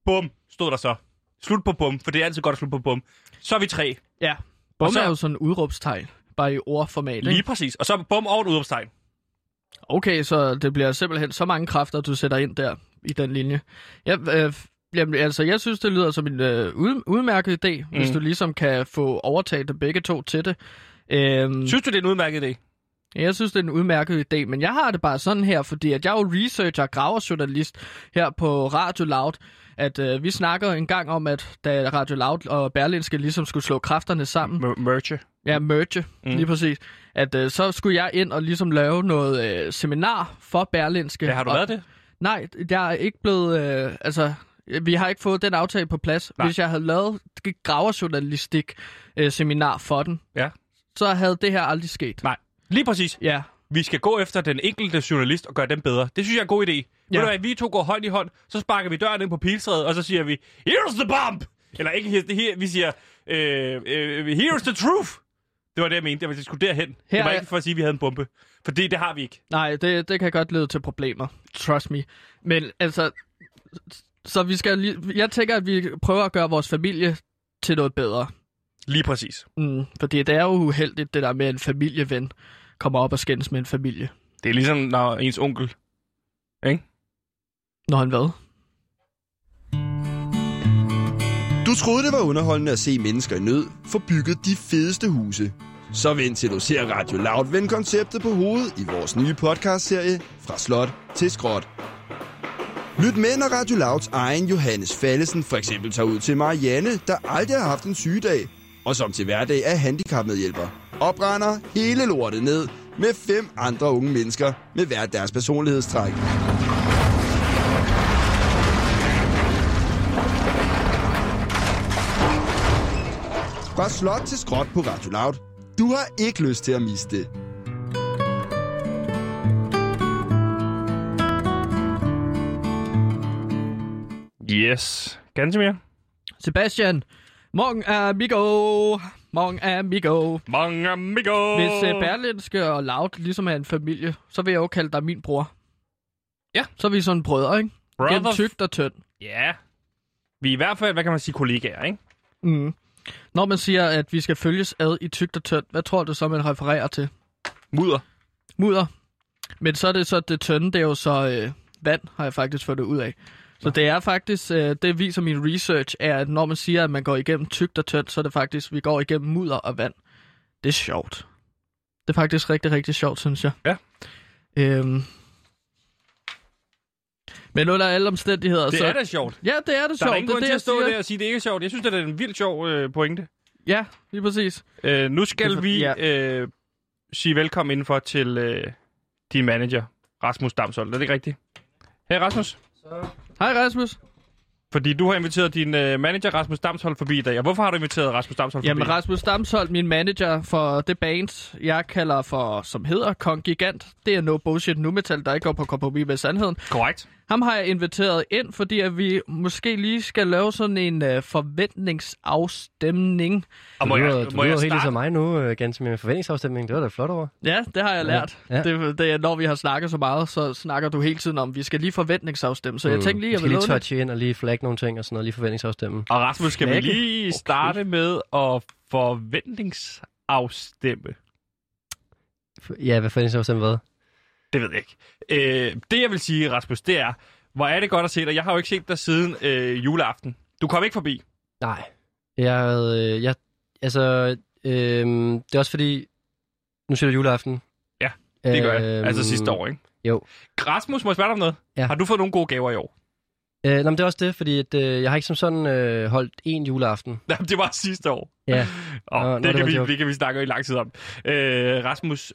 Speaker 1: Bum, stod der så. Slut på bum, for det er altid godt at slutte på bum. Så er vi tre.
Speaker 2: Ja. Bum
Speaker 1: så-
Speaker 2: er jo sådan en udråbstegn, bare i ordformat. ikke?
Speaker 1: Lige præcis. Og så er bum over et udopstegn.
Speaker 2: Okay, så det bliver simpelthen så mange kræfter, du sætter ind der i den linje. Ja, øh, jamen, altså, jeg synes, det lyder som en øh, ud, udmærket idé, mm. hvis
Speaker 1: Mm.
Speaker 2: du ligesom kan få overtaget dem begge to til det. Øhm,
Speaker 1: Synes du, det er en udmærket idé?
Speaker 2: jeg synes, det er en udmærket idé, men jeg har det bare sådan her, fordi at jeg er jo researcher og graverjournalist her på Radio Loud, at øh, vi snakker en gang om, at da Radio Loud og Berlinske ligesom skulle slå kræfterne sammen,
Speaker 1: M- merge.
Speaker 2: Ja, merge, mm. lige præcis. At øh, så skulle jeg ind og ligesom lave noget øh, seminar for Berlinske.
Speaker 1: Ja, har du
Speaker 2: og,
Speaker 1: været det?
Speaker 2: Nej, jeg er ikke blevet... Øh, altså, øh, vi har ikke fået den aftale på plads.
Speaker 1: Nej.
Speaker 2: Nej. Hvis jeg havde lavet et graverjournalistik øh, seminar for den,
Speaker 1: Ja.
Speaker 2: så havde det her aldrig sket.
Speaker 1: Nej. Lige præcis.
Speaker 2: Ja,
Speaker 1: vi skal gå efter den enkelte journalist og gøre dem bedre. Det synes jeg er en god idé. Ja. Ved du hvad, vi to går hånd i hånd, så sparker vi døren ind på piltræet, og så siger vi, here's the bomb! Eller ikke, here's the, here, vi siger, øh, øh, here's the truth! Det var det, jeg mente. Det var, at vi skulle derhen. Her,
Speaker 2: Her
Speaker 1: det var
Speaker 2: er-
Speaker 1: ikke for at sige, at vi havde en bombe. For det, det har vi ikke.
Speaker 2: nej, det, det kan godt lede til problemer. Trust me. Men altså... Så vi skal lige, jeg tænker, at vi prøver at gøre vores familie til noget bedre.
Speaker 1: Lige præcis.
Speaker 2: Mm, fordi det er jo uheldigt, det der med at en familieven kommer op og skændes med en familie.
Speaker 1: Det er ligesom, når ens onkel... Ikke?
Speaker 2: Når han hvad?
Speaker 4: Du troede, det var underholdende at se mennesker i nød få bygget de fedeste huse. Så vent til du ser Radio Loud vende konceptet på hovedet i vores nye podcastserie Fra Slot til Skråt. Lyt med, når Radio Louds egen Johannes Fallesen for eksempel tager ud til Marianne, der aldrig har haft en sygedag, og som til hverdag er handicapmedhjælper, og brænder hele lortet ned med fem andre unge mennesker med hver deres personlighedstræk. Fra slot til skråt på Radio Loud. Du har ikke lyst til at miste det.
Speaker 1: Yes. Gantemir.
Speaker 2: Sebastian, morgen amigo, morgen amigo.
Speaker 1: Mange amigo.
Speaker 2: Hvis uh, Berlinske og Loud ligesom er en familie, så vil jeg jo kalde dig min bror.
Speaker 1: Ja.
Speaker 2: Så er vi sådan brødre, ikke? Gennem
Speaker 1: Brother...
Speaker 2: tygt og tynd.
Speaker 1: Ja. Vi er i hvert fald, hvad kan man sige, kollegaer, ikke?
Speaker 2: Mm. Når man siger, at vi skal følges ad i tygt og tynd, hvad tror du så, man refererer til?
Speaker 1: Mudder.
Speaker 2: Mudder. Men så er det så, det tynde, det er jo så øh, vand, har jeg faktisk fået det ud af. Så det er faktisk, øh, det viser min research, er, at når man siger, at man går igennem tykt og tyndt, så er det faktisk, vi går igennem mudder og vand. Det er sjovt. Det er faktisk rigtig, rigtig sjovt, synes jeg.
Speaker 1: Ja.
Speaker 2: Øhm. Men under alle omstændigheder,
Speaker 1: Det
Speaker 2: så...
Speaker 1: er da sjovt.
Speaker 2: Ja, det er det
Speaker 1: Der
Speaker 2: sjovt.
Speaker 1: er da ingen
Speaker 2: det er
Speaker 1: grund
Speaker 2: det,
Speaker 1: til
Speaker 2: jeg
Speaker 1: at stå
Speaker 2: siger.
Speaker 1: der og sige, at det ikke er sjovt. Jeg synes, det er en vildt sjov øh, pointe.
Speaker 2: Ja, lige præcis.
Speaker 1: Øh, nu
Speaker 2: Det er
Speaker 1: skal
Speaker 2: for-
Speaker 1: vi
Speaker 2: ja.
Speaker 1: øh, sige velkommen indenfor til øh, din manager, Rasmus Damshold. Er det ikke rigtigt? Hej Rasmus,
Speaker 2: Hej Rasmus.
Speaker 1: fordi du har inviteret din øh, manager, Rasmus Damshold, forbi i dag. Og hvorfor har du inviteret Rasmus Damshold
Speaker 2: Jamen
Speaker 1: forbi?
Speaker 2: Rasmus Damshold, min manager for det band, jeg kalder for, som hedder Kong Gigant. Det er no bullshit nu metal, der ikke går på kompromis med sandheden.
Speaker 1: Korrekt.
Speaker 2: Ham har jeg inviteret ind, fordi at vi måske lige skal lave sådan en øh, forventningsafstemning.
Speaker 1: Og
Speaker 5: Må
Speaker 1: må
Speaker 5: du lyder,
Speaker 1: jeg,
Speaker 5: du
Speaker 1: må jeg
Speaker 5: lyder helt
Speaker 1: starte?
Speaker 5: ligesom mig nu, øh, ganske med forventningsafstemning. Det var da flot over.
Speaker 2: Ja, det har jeg lært.
Speaker 5: Ja. Ja.
Speaker 2: Det, det, er, når vi har snakket så meget, så snakker du hele tiden om, vi skal lige forventningsafstemme. Så jeg tænkte lige, jeg
Speaker 5: Mm. vi skal
Speaker 2: vil
Speaker 5: lige
Speaker 2: låne
Speaker 5: touche ind og lige flagge nogle ting og sådan noget, lige forventningsafstemme.
Speaker 1: Og Rasmus, skal vi
Speaker 5: Knække.
Speaker 1: lige starte med at forventningsafstemme?
Speaker 5: Ja, hvad forventningsafstemme hvad?
Speaker 1: Det ved jeg ikke. Øh, det, jeg vil sige, Rasmus, det er, hvor er det godt at se dig. Jeg har jo ikke set dig siden øh, juleaften. Du kom ikke forbi.
Speaker 5: Nej. Jeg, havde, øh, jeg altså, øh, det er også fordi, nu siger du juleaften. Øhm,
Speaker 1: Ja, Det gør jeg. Altså sidste år, ikke?
Speaker 5: Øh, Jo.
Speaker 1: Rasmus, må jeg spørge dig om noget?
Speaker 5: Ja.
Speaker 1: Har du fået nogle gode gaver i år?
Speaker 5: Øh, nå, men det er også det, fordi at, øh, jeg har ikke som sådan øh, holdt en juleaften.
Speaker 1: Nej, det var sidste år.
Speaker 5: Ja.
Speaker 1: Og
Speaker 5: Nå, nå,
Speaker 1: det,
Speaker 5: det
Speaker 1: kan
Speaker 5: var
Speaker 1: vi,
Speaker 5: en joke.
Speaker 1: det kan vi snakke i lang tid om. Øh, Rasmus,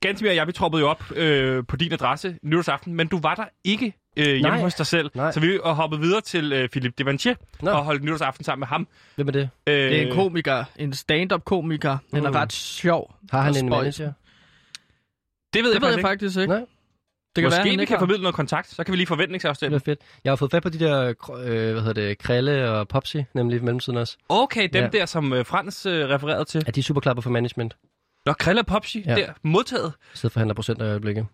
Speaker 1: Gantemir og jeg, vi troppede jo op øh, på din adresse nytårsaften, men du var der ikke øh, hjemme
Speaker 5: Nej.
Speaker 1: hos dig selv.
Speaker 5: Nej.
Speaker 1: Så vi hoppede videre til øh, Philip Devanchier
Speaker 5: Nå.
Speaker 1: og holdt nytårsaften sammen med ham.
Speaker 5: Hvem er det?
Speaker 1: Øh,
Speaker 2: Det er en komiker, en stand-up-komiker. Mm. Han er
Speaker 5: Mm.
Speaker 2: ret sjov.
Speaker 5: Har han
Speaker 2: og
Speaker 5: en
Speaker 2: spøjs.
Speaker 5: manager?
Speaker 1: Det ved jeg,
Speaker 2: Det ved
Speaker 1: faktisk
Speaker 2: jeg
Speaker 1: ikke.
Speaker 2: faktisk ikke.
Speaker 5: Nej.
Speaker 2: Det kan
Speaker 1: Måske
Speaker 2: være, han
Speaker 1: vi
Speaker 2: ikke
Speaker 1: kan
Speaker 2: har.
Speaker 1: formidle noget kontakt, så kan vi lige
Speaker 5: Det
Speaker 1: forventningsafstemme.
Speaker 5: er fedt. Jeg har fået fat på de der, kr- øh, hvad hedder det, Krelle og Popsi, nemlig i mellemtiden også.
Speaker 1: Okay, dem
Speaker 5: Ja.
Speaker 1: der, som øh, Frans øh, refererede til.
Speaker 5: Ja, de er superklapper for management.
Speaker 1: Nå, Krille og Popsi,
Speaker 5: Ja.
Speaker 1: der, modtaget.
Speaker 5: Jeg sidder og forhandler procenter i øjeblikket.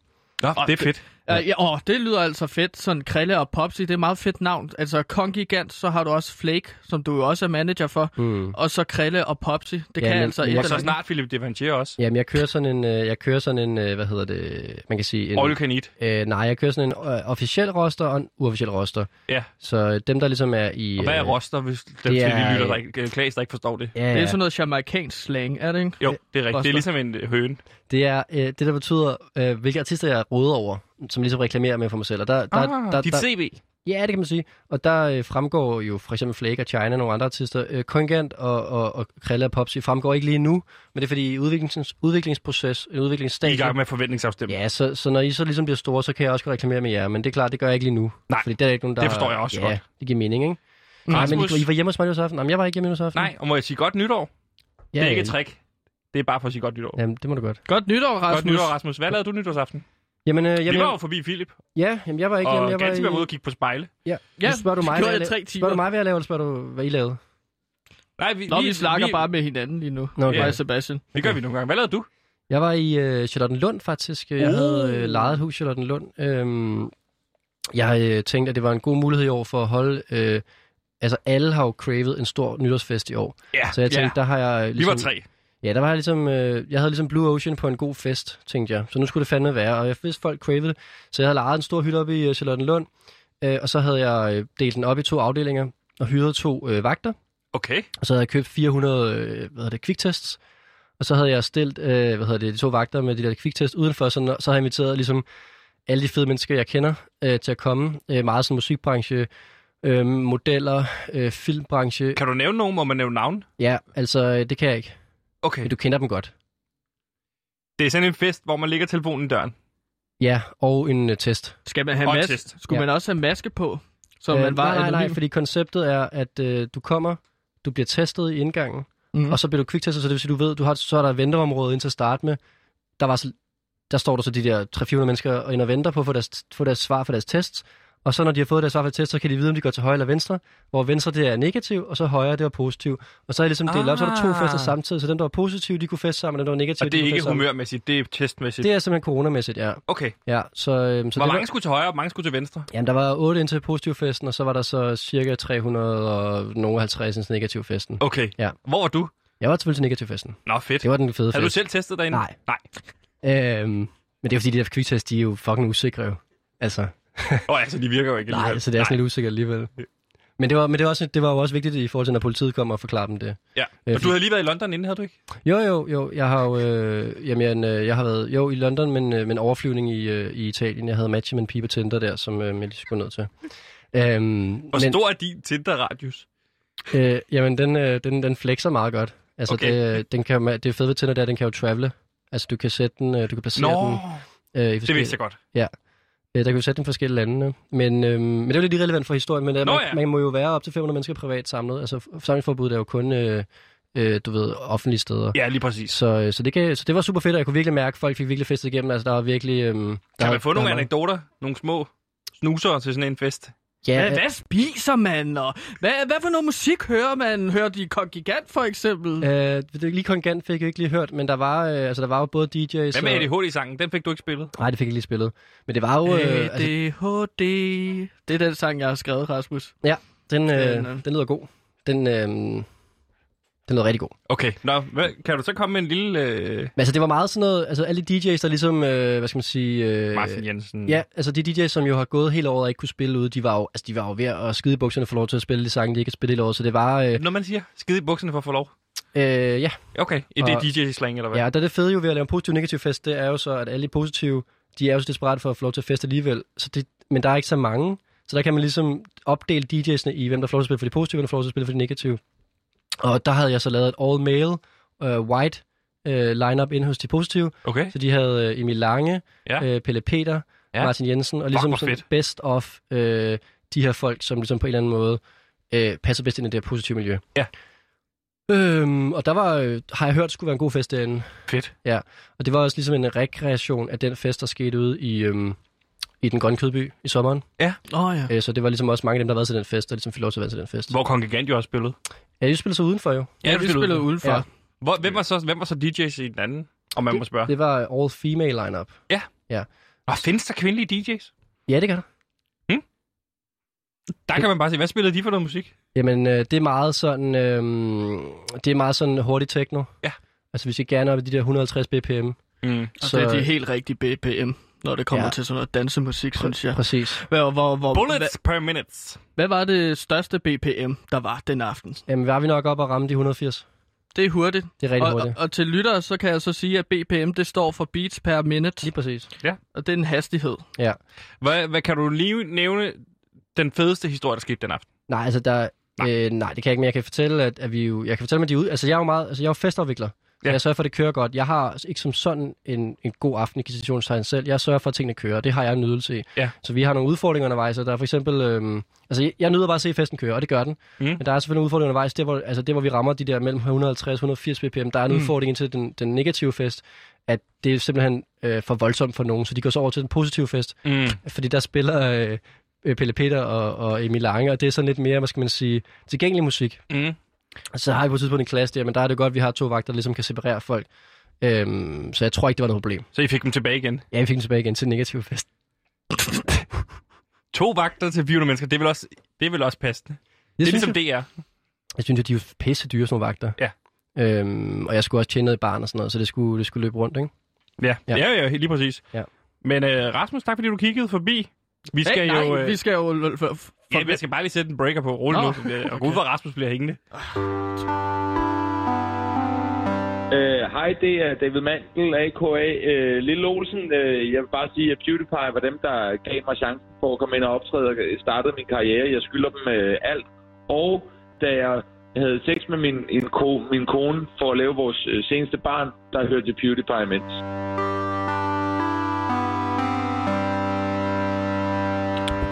Speaker 1: Nå, det er fedt.
Speaker 2: Ja, Øh, ja, åh, det lyder altså fedt. Sådan Krille og Popsi, det er meget fedt navn. Altså Kongigant, så har du også Flake, som du jo også er manager for.
Speaker 5: Mm.
Speaker 2: Og så Krille og Popsi. Det ja, kan
Speaker 5: men-
Speaker 2: altså
Speaker 5: men
Speaker 2: et
Speaker 5: jeg
Speaker 1: Og så
Speaker 2: eller andet.
Speaker 1: snart Philip Devanchier også.
Speaker 5: Jamen, jeg kører sådan en, øh, jeg kører sådan en, øh, hvad hedder det, man kan sige en...
Speaker 1: All you can eat.
Speaker 5: Øh, nej, jeg kører sådan en øh, officiel roster og en uofficiel roster.
Speaker 1: Ja.
Speaker 5: Så øh, dem, der ligesom er i...
Speaker 1: Og hvad er
Speaker 5: øh,
Speaker 1: roster, hvis dem til de
Speaker 5: det er- Øh,
Speaker 1: lytter, der ikke, øh, Klaas, der ikke forstår det?
Speaker 5: Ja,
Speaker 2: Det
Speaker 5: ja.
Speaker 2: er sådan noget jamaikansk slang, er det ikke?
Speaker 1: Jo, det er rigtigt. Det
Speaker 2: Roster.
Speaker 1: er ligesom en øh, høne.
Speaker 5: det er øh, det, der betyder, øh, hvilke artister jeg råder over, som ligesom reklamerer med for mig selv. Og der, der, der, der,
Speaker 1: Dit CV.
Speaker 5: ja, det kan man sige. Og der øh, fremgår jo for eksempel Flake og China og nogle andre artister. Øh, Kongant og, og, og Krella og Popsi fremgår ikke lige nu, men det er fordi i udviklings, udviklingsproces, en
Speaker 1: I
Speaker 5: udviklingsstadie...
Speaker 1: er i gang med forventningsafstemning.
Speaker 5: Ja, så, så når I så ligesom bliver store, så kan jeg også godt reklamere med jer, men det er klart, det gør jeg ikke lige nu.
Speaker 1: Nej,
Speaker 5: fordi der er ikke nogen, der...
Speaker 1: det forstår jeg også
Speaker 5: ja,
Speaker 1: godt.
Speaker 5: det giver mening, ikke? Nej, men I, I var hjemme hos mig nytårsaften? Jamen, jeg var ikke hjemme nytårsaften.
Speaker 1: Nej, og må jeg sige godt nytår?
Speaker 5: ja,
Speaker 1: det er ikke et
Speaker 5: ja.
Speaker 1: trick. Det er bare for at sige godt nytår.
Speaker 5: Jamen, det må du godt.
Speaker 2: Godt nytår, Rasmus.
Speaker 1: Godt nytår, Rasmus. Hvad lavede du nytårsaften?
Speaker 5: Jamen, øh,
Speaker 1: Jamen,
Speaker 5: jamen,
Speaker 1: vi var jo forbi Philip,
Speaker 5: ja, jamen, jeg var ikke
Speaker 1: og
Speaker 5: hjemme. Jeg var,
Speaker 1: ganske var ude og
Speaker 5: i,
Speaker 1: kigge på spejle.
Speaker 2: Ja,
Speaker 5: nu spørger du
Speaker 2: det
Speaker 5: mig,
Speaker 2: gjorde
Speaker 5: hvad
Speaker 2: jeg i tre timer.
Speaker 5: spørger du mig, hvad jeg lavede, eller spørger du, hvad I lavede?
Speaker 1: Nej, vi,
Speaker 2: Nå, vi slakker bare med hinanden lige nu.
Speaker 5: Nå,
Speaker 2: Nå,
Speaker 5: okay.
Speaker 2: okay. Mig og Sebastian.
Speaker 1: Det gør vi nogle gange. Hvad lavede du?
Speaker 5: Jeg var i øh, Charlottenlund, faktisk. Jeg
Speaker 1: Uh.
Speaker 5: havde øh, lejet et hus i Charlottenlund. Øhm, jeg øh, tænkte, at det var en god mulighed i år for at holde... Øh, altså, alle har jo cravet en stor nytårsfest i år.
Speaker 1: Ja,
Speaker 5: Så jeg tænkte, der har
Speaker 1: vi
Speaker 5: jeg... øh,
Speaker 1: var
Speaker 5: ligesom-
Speaker 1: tre.
Speaker 5: Ja, der var jeg ligesom, øh, jeg havde ligesom Blue Ocean på en god fest, tænkte jeg. Så nu skulle det fandme være, og jeg vidste, folk cravede det. Så jeg havde lejet en stor hytte op i øh, Charlottenlund, øh, og så havde jeg øh, delt den op i to afdelinger og hyret to øh, vagter.
Speaker 1: Okay.
Speaker 5: Og så havde jeg købt 400, øh, hvad hedder det, quicktests. Og så havde jeg stillet, øh, hvad hedder det, de to vagter med de der quicktests udenfor, så, så havde jeg inviteret ligesom alle de fede mennesker, jeg kender, øh, til at komme. Øh, meget sådan musikbranche, øh, modeller, øh, filmbranche.
Speaker 1: Kan du nævne nogen? Må man nævne navn?
Speaker 5: Ja, altså, øh, det kan jeg ikke.
Speaker 1: Okay.
Speaker 5: Men du kender dem godt.
Speaker 1: Det er sådan en fest, hvor man lægger telefonen i døren.
Speaker 5: Ja, og en uh, test.
Speaker 2: Skal man have
Speaker 1: Og en
Speaker 2: maske?
Speaker 1: test.
Speaker 2: Skulle
Speaker 5: Ja.
Speaker 2: man også have maske på? Så
Speaker 5: Øh,
Speaker 2: man var
Speaker 5: nej, nej, nej,
Speaker 2: anonym?
Speaker 5: fordi konceptet er, at øh, du kommer, du bliver testet i indgangen,
Speaker 2: Mhm.
Speaker 5: mm. og så bliver du kviktestet, så det vil sige, du ved, du har, så er der et venteområde indtil at starte med. Der, var, så- der står der så de der 300-400 mennesker og ind og venter på at få deres, få deres svar for deres tests. Og så når de har fået deres svar for deres test, så kan de vide, om de går til højre eller venstre. Hvor venstre det er negativ, og så højre det er positiv. Og så er det ligesom delt op, så er der to
Speaker 1: Ah.
Speaker 5: fester samtidig. Så dem, der var positive, de kunne feste sammen, og dem, der var negative,
Speaker 1: Og det
Speaker 5: de
Speaker 1: er
Speaker 5: kunne
Speaker 1: ikke
Speaker 5: feste sammen.
Speaker 1: humørmæssigt, det er testmæssigt.
Speaker 5: Det er simpelthen coronamæssigt, ja.
Speaker 1: Okay.
Speaker 5: ja så, øhm, så
Speaker 1: Hvor
Speaker 5: det var-
Speaker 1: mange skulle til højre, og mange skulle til venstre?
Speaker 5: Jamen, der var 8 ind til positivfesten, og så var der så cirka 300 og nogle 50 ind til negativfesten. Okay.
Speaker 1: Okay.
Speaker 5: Ja.
Speaker 1: Hvor var du?
Speaker 5: Jeg var selvfølgelig til negativfesten.
Speaker 1: Nå, fedt.
Speaker 5: Det var den fede
Speaker 1: Havde du
Speaker 5: fest.
Speaker 1: selv testet derinde?
Speaker 5: Nej.
Speaker 1: Nej.
Speaker 5: Øhm, men det er fordi, de der kviktest, de er jo fucking usikre jo. Altså,
Speaker 1: Åh, altså, de virker jo ikke
Speaker 5: nej,
Speaker 1: alligevel.
Speaker 5: så det er sådan lidt usikkert alligevel. Men det var, men det var, også, det var jo også vigtigt i forhold til, når politiet kom og forklarede dem det.
Speaker 1: Ja.
Speaker 5: Øh,
Speaker 1: Og du havde lige været i London inden, havde du ikke?
Speaker 5: Jo, jo, jo. Jeg har jo, øh, jamen, øh, jeg har været jo i London, men, øh, men overflyvning i, øh, i Italien. Jeg havde matchet med en pige på Tinder der, som øh, jeg lige skulle ned til. Øhm,
Speaker 1: Hvor stor er din Tinder-radius?
Speaker 5: Øh, jamen, den, øh, den, den flexer meget godt. Altså,
Speaker 1: Okay.
Speaker 5: okay. det, den kan, jo- det fede ved Tinder, det er, at den kan jo travele. Altså, du kan sætte den, øh, du kan placere den øh, i
Speaker 1: det
Speaker 5: forskellige...
Speaker 1: vidste jeg godt.
Speaker 5: øh, der kan du sætte den i forskellige lande. øh. Men, øh, men det er jo lidt irrelevant for historien, men øh,
Speaker 1: Nå
Speaker 5: man,
Speaker 1: ja.
Speaker 5: man, må jo være op til 500 mennesker privat samlet. Altså, f- samlingsforbuddet er jo kun, øh, øh, du ved, offentlige steder.
Speaker 1: Ja, lige præcis.
Speaker 5: Så, øh, så, det kan, så det var super fedt, og jeg kunne virkelig mærke, at folk fik virkelig festet igennem. Altså, der var virkelig... Øh, der,
Speaker 1: Kan man få
Speaker 5: der
Speaker 1: nogle
Speaker 5: var-
Speaker 1: anekdoter? Nogle små snuser til sådan en fest?
Speaker 5: Ja,
Speaker 2: Hvad, hvad spiser man? Og hvad, hvad for noget musik hører man? Hører de Kongigant for eksempel?
Speaker 5: Øh, det er lige kongant fik jeg ikke lige hørt, men der var, øh, altså, der var jo både DJ's
Speaker 1: Hvad med ADHD-sangen? Den fik du ikke spillet.
Speaker 5: Nej, det fik jeg lige spillet. Men det var jo... Øh, altså,
Speaker 2: ADHD. altså- Det er den sang, jeg har skrevet, Rasmus.
Speaker 5: Den,
Speaker 2: Den,
Speaker 5: øh,
Speaker 2: øh.
Speaker 5: den lyder god. Den, øh, den lyder rigtig god.
Speaker 1: Okay, nå, hvad, kan du så komme med en lille øh,
Speaker 5: Men altså, det var meget sådan noget... Altså, alle de DJ's, der ligesom... Øh, hvad skal man sige... Øh,
Speaker 1: Martin Jensen?
Speaker 5: Ja, altså de DJ's, som jo har gået hele året og ikke kunne spille ude, de var jo, altså, de var jo ved at skide i bukserne for lov til at spille de sange, de ikke kan spille hele året, så det var... Øh,
Speaker 1: Når man siger, skide i bukserne for at få lov.
Speaker 5: øh, ja,
Speaker 1: Okay, er det
Speaker 5: Og-
Speaker 1: DJ-slang, eller hvad?
Speaker 5: ja, og der er det fede jo ved at lave en positiv negativ fest, det er jo så, at alle de positive, de er jo så desperat for at få lov til at feste alligevel, så det, men der er ikke så mange, så der kan man ligesom opdele DJ's'ene i, hvem der får lov til at spille for de positive, hvem der får lov til at spille for de negative. Og der havde jeg så lavet et all-male, øh, white øh, lineup inde hos de positive.
Speaker 1: Okay.
Speaker 5: Så de havde øh, Emil Lange,
Speaker 1: Ja.
Speaker 5: ja. øh, Pelle Peter,
Speaker 1: Ja.
Speaker 5: ja. Martin Jensen, og
Speaker 1: hvor
Speaker 5: ligesom sådan
Speaker 1: fedt.
Speaker 5: best of øh, de her folk, som ligesom på en eller anden måde øh, passer bedst ind i det her positive miljø.
Speaker 1: Ja.
Speaker 5: Øhm, og der var, øh, har jeg hørt, skulle være en god fest derinde.
Speaker 1: Fedt.
Speaker 5: Og det var også ligesom en rekreation af den fest, der skete ude i, øhm, i den grønne kødby i sommeren.
Speaker 2: Åh oh, ja.
Speaker 5: Øh, så det var ligesom også mange af dem, der har været til den fest, der ligesom fik lov til at være til den fest.
Speaker 1: Hvor Kong Gigant jo også spillede.
Speaker 5: Ja, de spillede så udenfor jo.
Speaker 2: Ja, vi spillede udenfor.
Speaker 5: Ja.
Speaker 2: Ja.
Speaker 1: Hvor, hvem, var så, hvem var så DJ's i den anden? Om man må spørge.
Speaker 5: Det var all female lineup.
Speaker 1: Og findes der kvindelige DJ's?
Speaker 5: Ja, det gør der.
Speaker 1: Der kan man bare se, hvad spillede de for noget musik?
Speaker 5: Jamen, øh, det er meget sådan, øh, det er meget sådan hurtig techno.
Speaker 1: Ja.
Speaker 5: Altså, vi skal gerne op i de der 150 bpm.
Speaker 1: Mm.
Speaker 2: Og så... Altså, det er de helt rigtige BPM, når det kommer ja.
Speaker 5: Ja.
Speaker 2: til sådan noget dansemusik, synes jeg.
Speaker 5: Præcis.
Speaker 2: Hvor, hvor, hvor, hvad,
Speaker 1: Bullets per minutes.
Speaker 2: hvad var det største BPM, der var den aften?
Speaker 5: Jamen, var vi nok op og ramme de 180?
Speaker 2: Det er hurtigt.
Speaker 5: Det er rigtig
Speaker 2: Og, og,
Speaker 5: hurtigt.
Speaker 2: og til lyttere, så kan jeg så sige, at BPM, det står for beats per minute,
Speaker 5: Lige præcis.
Speaker 2: og det er en hastighed.
Speaker 5: Ja.
Speaker 1: Hvad, hvad kan du lige nævne den fedeste historie, der skete den aften?
Speaker 5: Nej, altså, der... Øh, nej, det kan jeg ikke, men jeg kan fortælle, at, at vi jo... Jeg kan fortælle mig, at de er ude... Altså, jeg er jo meget... Altså, jeg er jo festafvikler.
Speaker 1: Ja.
Speaker 5: Ja. Jeg sørger for, at det kører godt. Jeg har ikke som sådan en, en god aften i situationstegn selv. Jeg sørger for, at tingene kører, og det har jeg en nydelse i.
Speaker 1: Ja.
Speaker 5: Så vi har nogle udfordringer undervejs, og der er for eksempel... Øhm, altså, jeg, jeg nyder bare at se at festen køre, og det gør den.
Speaker 1: Mm.
Speaker 5: Men der er selvfølgelig en udfordring undervejs, der hvor, altså, der, hvor vi rammer de der mellem 150-180 bpm. Der er en
Speaker 1: Mm.
Speaker 5: mm. udfordring til den, den negative fest, at det er simpelthen øh, for voldsomt for nogen, så de går så over til den positive fest,
Speaker 1: Mm.
Speaker 5: fordi der spiller øh, øh, Pelle Peter og, og Emil Lange, og det er sådan lidt mere, hvad skal man sige, tilgængelig musik.
Speaker 1: Mm.
Speaker 5: Så har vi på et tidspunkt en klasse der, men der er det godt, at vi har to vagter, der ligesom kan separere folk. Øhm, så jeg tror ikke, det var noget problem.
Speaker 1: Så I fik dem tilbage igen.
Speaker 5: Ja, vi fik den tilbage igen til den negative fest.
Speaker 1: To vagter til 400 mennesker, det vil også, det vil også passende. Det
Speaker 5: Jeg
Speaker 1: er
Speaker 5: synes,
Speaker 1: ligesom
Speaker 5: jeg,
Speaker 1: DR.
Speaker 5: jeg synes, at de er jo pisse dyre, sådan nogle vagter.
Speaker 1: Ja.
Speaker 5: Øhm, og jeg skulle også tjene noget i barn og sådan noget, så det skulle, det skulle løbe rundt, ikke?
Speaker 1: Ja, ja,
Speaker 5: Ja.
Speaker 1: ja, ja lige præcis.
Speaker 5: Ja.
Speaker 1: Men øh, Rasmus, tak fordi du kiggede forbi. Vi skal
Speaker 2: hey,
Speaker 1: jo...
Speaker 2: nej,
Speaker 1: øh,
Speaker 2: vi skal jo... l- For, for,
Speaker 1: ja, jeg skal bare lige sætte en breaker på. Rolig
Speaker 2: Nå,
Speaker 1: nu. Og gud, hvor Rasmus bliver hængende.
Speaker 6: Øh, Hej, det er David Mandel, a.k.a. Øh, Lille Olsen. Øh, jeg vil bare sige, at PewDiePie var dem, der gav mig chancen for at komme ind og optræde og startede min karriere. Jeg skylder dem øh, alt. Og da jeg havde sex med min, en ko, min kone for at lave vores øh, seneste barn, der hørte jeg PewDiePie imens.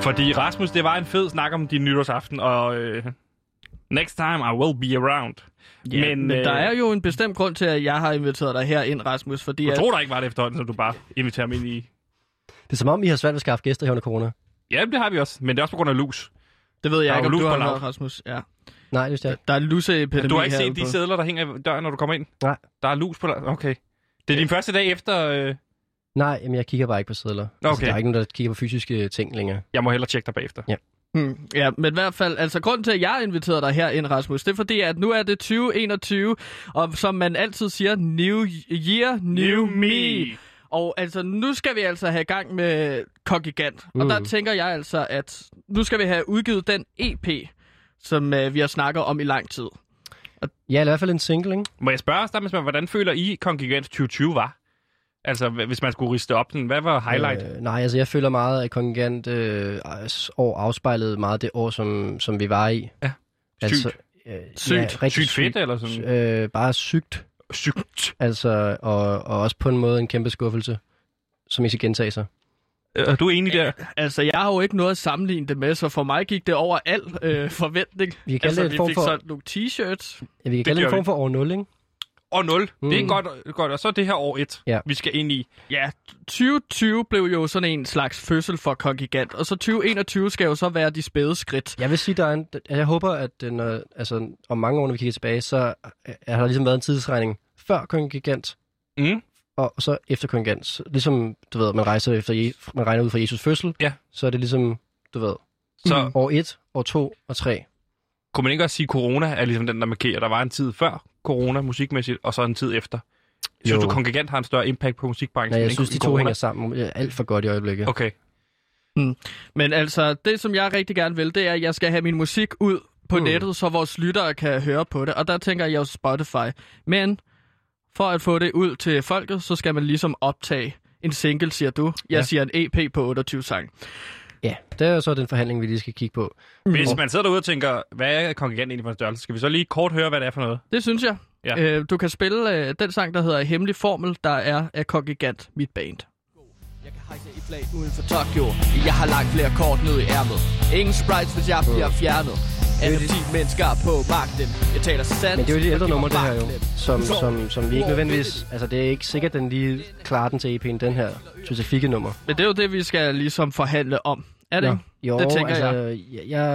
Speaker 1: Fordi Rasmus, det var en fed snak om din nytårsaften, og øh, next time I will be around.
Speaker 2: Ja, men, men
Speaker 1: øh,
Speaker 2: der er jo en bestemt grund til, at jeg har inviteret dig her ind, Rasmus, fordi
Speaker 1: Jeg
Speaker 2: at,
Speaker 1: tror der ikke var det efterhånden, som du bare inviterer mig ind i.
Speaker 5: Det er som om, I har svært ved at skaffe gæster her under corona.
Speaker 1: Ja, det har vi også, men det er også på grund af lus.
Speaker 2: det ved
Speaker 1: der
Speaker 2: jeg
Speaker 1: er
Speaker 2: ikke,
Speaker 1: jo
Speaker 2: om
Speaker 1: lus
Speaker 2: du
Speaker 1: på
Speaker 2: har
Speaker 1: lav.
Speaker 2: hørt, Rasmus. Ja.
Speaker 5: Nej, det er
Speaker 2: Der, der er luseepidemi
Speaker 1: Du har ikke set
Speaker 2: herude
Speaker 1: de
Speaker 2: på-
Speaker 1: sædler, der hænger i døren, når du kommer ind?
Speaker 5: Nej.
Speaker 1: Der er lus på... Okay. Det er din første dag efter... Øh,
Speaker 5: Nej, jamen, jeg kigger bare ikke på sædler. Altså,
Speaker 1: Okay.
Speaker 5: der er ikke nogen, der kigger på fysiske ting længere.
Speaker 1: jeg må hellere tjekke dig bagefter.
Speaker 2: Hmm, ja, men i hvert fald, altså grunden til, at jeg inviterede dig herind, Rasmus, det er fordi, at nu er det 2021, og som man altid siger, new year, new, me. Og altså, nu skal vi altså have gang med Kongigant. Mm. Og
Speaker 5: Mm.
Speaker 2: der tænker jeg altså, at nu skal vi have udgivet den EP, som øh, vi har snakket om i lang tid.
Speaker 5: Ja, eller i hvert fald en single, ikke?
Speaker 1: Må jeg spørge os der, hvis man, hvordan føler I, Kongigant 2020 var? Altså, hv- hvis man skulle riste op, sådan, hvad var highlight?
Speaker 5: Øh, nej, altså jeg føler meget, at Kongigant øh, s- år afspejlede meget det år, som, som vi var i.
Speaker 1: Ja.
Speaker 5: Altså, øh,
Speaker 2: Sygt.
Speaker 5: Ja, rigtig
Speaker 1: sygt fedt, eller sådan?
Speaker 5: Øh, bare sygt,
Speaker 1: Sygt.
Speaker 5: altså, og, og også på en måde en kæmpe skuffelse, som ikke skal gentage sig.
Speaker 1: Er du enig der?
Speaker 2: Altså, jeg har jo ikke noget at sammenligne det med, så for mig gik det over al øh, forventning.
Speaker 5: Vi kan
Speaker 2: altså,
Speaker 5: kalde det
Speaker 2: vi
Speaker 5: en form
Speaker 2: fik
Speaker 5: for-
Speaker 2: sådan nogle t-shirts.
Speaker 5: Ja, vi kan kalde
Speaker 1: gør
Speaker 5: det en
Speaker 1: vi.
Speaker 5: form for år 0, ikke?
Speaker 1: Og 0. Mm. Det er
Speaker 5: Mm.
Speaker 1: godt, godt. Og så er det her år 1,
Speaker 5: Ja.
Speaker 1: vi skal ind i.
Speaker 2: Ja, 2020 blev jo sådan en slags fødsel for Kongigant, og så 2021 skal jo så være de spæde skridt.
Speaker 5: Jeg vil sige, der er en, at jeg håber, at øh, når, altså, om mange år, når vi kigger tilbage, så øh, har der ligesom været en tidsregning før Kongigant,
Speaker 1: Mm.
Speaker 5: og så efter Kongigant. Så Ligesom, du ved, man, rejser efter, Je- man regner ud fra Jesus fødsel,
Speaker 1: Ja.
Speaker 5: så er det ligesom, du ved,
Speaker 1: Så
Speaker 5: År 1, år 2 og 3.
Speaker 1: kunne man ikke også sige, at corona er ligesom den, der markerer, der var en tid før corona musikmæssigt, og så en tid efter? Synes du,
Speaker 5: Jo.
Speaker 1: Kongigant har en større impact på musikbranchen?
Speaker 5: Nej, jeg
Speaker 1: end
Speaker 5: synes, de to
Speaker 1: corona?
Speaker 5: hænger sammen øh, alt for godt i øjeblikket.
Speaker 1: Okay.
Speaker 2: Men altså, det som jeg rigtig gerne vil, det er, at jeg skal have min musik ud på mm.
Speaker 5: Mm.
Speaker 2: nettet, så vores lyttere kan høre på det. Og der tænker jeg jo Spotify. Men for at få det ud til folket, så skal man ligesom optage en single, siger du. Jeg ja.
Speaker 5: Ja.
Speaker 2: siger en EP på 28 sang.
Speaker 5: Ja, det er jo så den forhandling, vi lige skal kigge på.
Speaker 1: Hvis man sidder derude og tænker, hvad er Kongigant egentlig for en størrelse? Skal vi så lige kort høre, hvad det er for noget?
Speaker 2: Det synes jeg.
Speaker 1: Ja.
Speaker 2: Øh, du kan spille øh, den sang, der hedder Hemmelig Formel, der er af Kongigant, mit band.
Speaker 7: Jeg kan hejse et flag uden for Tokyo Jeg har langt flere kort ned i ærmet Ingen surprise, hvis jeg bliver fjernet Andet 10 mennesker på magten Jeg taler sandt
Speaker 5: Men det er jo de ældre
Speaker 7: og giver
Speaker 5: numre, det her jo,
Speaker 7: magtklem.
Speaker 5: som, som, som vi ikke nødvendigvis... Altså, det er ikke sikkert, den lige klarer den til EP'en, den her specifikke nummer.
Speaker 2: Men det er jo det, vi skal ligesom forhandle om. Er det
Speaker 5: Nå.
Speaker 2: ikke?
Speaker 5: Jo,
Speaker 2: Det tænker
Speaker 5: altså, jeg. jeg.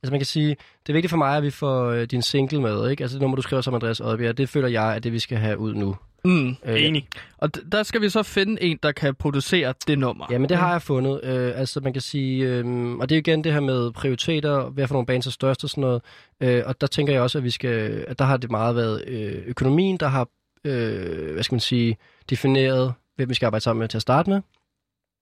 Speaker 5: Altså, man kan sige, det er vigtigt for mig, at vi får øh, din single med, ikke? Altså, det nummer, du skriver som Andreas Oddbjerg, det føler jeg, at det, vi skal have ud nu.
Speaker 2: Mm.
Speaker 5: Øh,
Speaker 1: Enig.
Speaker 2: Og d- der skal vi så finde en, der kan producere det nummer.
Speaker 5: Ja, men det har jeg fundet. Øh, altså, man kan sige... Øh, og det er jo igen det her med prioriteter, hvad for nogle bands er størst og sådan noget. Øh, og der tænker jeg også, at vi skal... At der har det meget været øh, økonomien, der har... Øh, hvad skal man sige? Defineret, hvem vi skal arbejde sammen med til at starte med.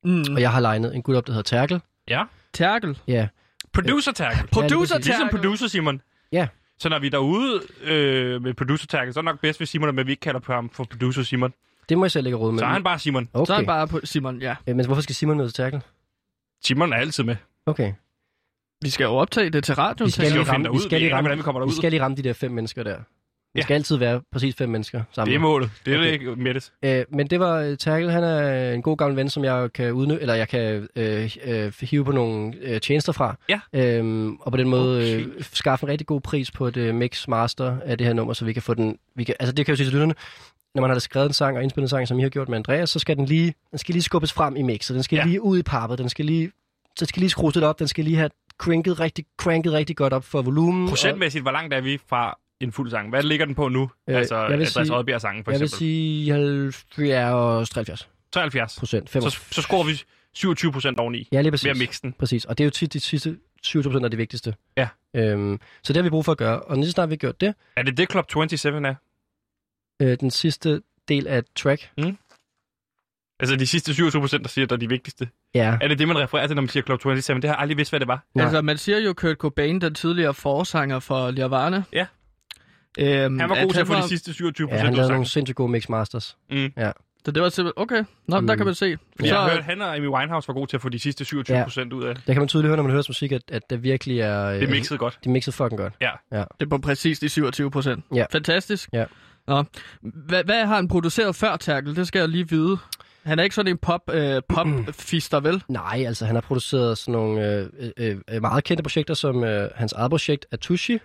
Speaker 2: Mm.
Speaker 5: Og jeg har legnet en gut op, der hedder Terkel.
Speaker 1: Ja.
Speaker 2: Terkel.
Speaker 5: Ja.
Speaker 1: Producer tackle.
Speaker 2: Producer
Speaker 5: præcis.
Speaker 2: Terkel.
Speaker 1: Ligesom producer Simon.
Speaker 5: Ja.
Speaker 1: Så når vi er derude øh, med producer tackle, så er det nok bedst, hvis Simon er med, vi ikke kalder på ham for producer Simon.
Speaker 5: Det må jeg selv ikke råde med.
Speaker 1: Så er han bare Simon.
Speaker 5: Okay.
Speaker 2: Så er det bare på Simon, ja.
Speaker 5: Øh, Men hvorfor skal Simon med til Terkel?
Speaker 1: Simon er altid med.
Speaker 5: Okay.
Speaker 2: Vi skal jo optage det til radioen.
Speaker 5: Vi
Speaker 1: Vi
Speaker 5: skal
Speaker 1: skal
Speaker 5: lige
Speaker 1: jo
Speaker 5: ramme-
Speaker 1: finde dig
Speaker 5: vi
Speaker 1: ud.
Speaker 5: skal
Speaker 1: Vi
Speaker 5: lige
Speaker 1: aner ikke,
Speaker 5: ramme-
Speaker 1: hvordan vi kommer
Speaker 5: Vi
Speaker 1: derud.
Speaker 5: skal lige ramme de der fem mennesker der. Vi
Speaker 1: Ja.
Speaker 5: skal altid være præcis fem mennesker sammen.
Speaker 1: Det er målet. Det er
Speaker 5: Okay.
Speaker 1: det ikke, Mettes.
Speaker 5: Øh, men det var øh, Terkel, han er en god gammel ven, som jeg kan udnytte, eller jeg kan øh, øh, hive på nogle øh, tjenester fra.
Speaker 1: Ja.
Speaker 5: Øhm, og på den måde
Speaker 1: Okay.
Speaker 5: øh, skaffe en rigtig god pris på et øh, mix master af det her nummer, så vi kan få den... Vi kan, altså det kan jeg jo sige til lytterne, når man har skrevet en sang og indspillet en sang, som I har gjort med Andreas, så skal den lige, den skal lige skubbes frem i mixet. Den skal
Speaker 1: Ja.
Speaker 5: ja. lige ud i pappet. Den skal lige, den skal lige skrues lidt op. Den skal lige have cranket rigtig, cranket rigtig godt op for volumen. og-
Speaker 1: Procentmæssigt, hvor langt er vi fra en fuld sang? Hvad ligger den på nu?
Speaker 5: Øh,
Speaker 1: altså
Speaker 5: jeg vil
Speaker 1: Andreas
Speaker 5: sige-
Speaker 1: Oddbjerg sangen for
Speaker 5: Jeg vil
Speaker 1: eksempel.
Speaker 5: sige 73
Speaker 1: 73.
Speaker 5: procent.
Speaker 1: Så, så scorer vi 27 procent oveni
Speaker 5: Ja, lige præcis.
Speaker 1: ved at mixe den.
Speaker 5: Præcis, og det er jo tit de sidste 20 procent, er det vigtigste.
Speaker 1: Ja.
Speaker 5: Øhm, så det har vi brug for at gøre, og lige så snart vi har gjort det,
Speaker 1: Er det det Club 27 er?
Speaker 5: øh, den sidste del af et track,
Speaker 1: Altså de sidste 27 procent, der siger, der er de vigtigste.
Speaker 5: ja,
Speaker 1: Er det det, man refererer til, når man siger Club 27? Det har jeg aldrig vidst, hvad det var.
Speaker 5: Nej.
Speaker 2: Altså, man siger jo Kurt Cobain, den tidligere forsanger for Nirvana.
Speaker 1: Ja.
Speaker 2: Øhm,
Speaker 1: Han var god
Speaker 2: at
Speaker 1: til at få
Speaker 2: var-
Speaker 1: de sidste 27
Speaker 5: ja
Speaker 1: procent
Speaker 5: han
Speaker 1: ud af
Speaker 5: lavede nogle
Speaker 1: sangen.
Speaker 5: sindssygt gode mixmasters.
Speaker 2: Så det var simpelthen, okay, Nå, mm. der
Speaker 5: Mm.
Speaker 2: kan man se.
Speaker 1: Fordi jeg har hørt, at han og Amy Winehouse var god til at få de sidste 27
Speaker 5: Ja.
Speaker 1: procent ud af.
Speaker 5: Der kan man tydeligt høre, når man hører hans musik, at, at det virkelig er... øh,
Speaker 1: Det mixede godt.
Speaker 5: Det er mixet fucking godt.
Speaker 2: det er på præcis de 27 procent.
Speaker 5: Ja.
Speaker 2: Fantastisk.
Speaker 5: Ja.
Speaker 2: Nå. Hva, hvad har han produceret før, Terkel? Det skal jeg lige vide. Han er ikke sådan en pop, øh, pop-fister, vel?
Speaker 5: Nej, altså han har produceret sådan nogle øh, øh, øh, meget kendte projekter, som øh, hans eget projekt Atushi.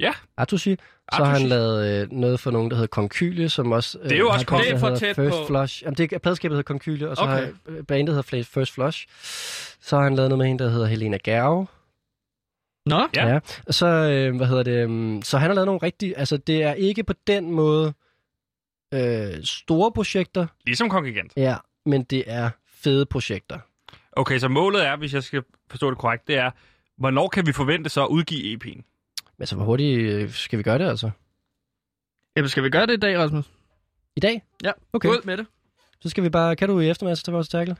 Speaker 1: Ja.
Speaker 5: Atushi. Så har
Speaker 1: Atushi.
Speaker 5: han lavet øh, noget for nogen, der hedder Konkylie, som også... Øh,
Speaker 1: Det er jo
Speaker 5: har
Speaker 1: også
Speaker 5: et
Speaker 1: kommet-
Speaker 5: band,
Speaker 2: Det er
Speaker 5: der
Speaker 2: for
Speaker 5: hedder
Speaker 2: tæt
Speaker 5: First
Speaker 2: på.
Speaker 5: Flush. Jamen, det er, pladskabet hedder Konkylie, og så
Speaker 2: Okay.
Speaker 5: okay. har øh, bandet hedder Fla- First Flush. Så har han lavet noget med en, der hedder Helena Gerve.
Speaker 2: Nå,
Speaker 1: Ja.
Speaker 5: Og så, øh, hvad hedder det... Um, så han har lavet nogle rigtige... Altså, det er ikke på den måde øh, store projekter,
Speaker 1: Ligesom Kongigant.
Speaker 5: ja, men det er fede projekter.
Speaker 1: Okay, så målet er, hvis jeg skal forstå det korrekt, det er, hvornår kan vi forvente så at udgive E EP'en?
Speaker 5: Men altså, hvor hurtigt øh, skal vi gøre det, altså?
Speaker 2: Jamen, skal vi gøre det i dag, Rasmus?
Speaker 5: I dag?
Speaker 2: Ja,
Speaker 5: Okay.
Speaker 2: Ud med det.
Speaker 5: Så skal vi bare... Kan du i eftermiddag så tage vores tackle?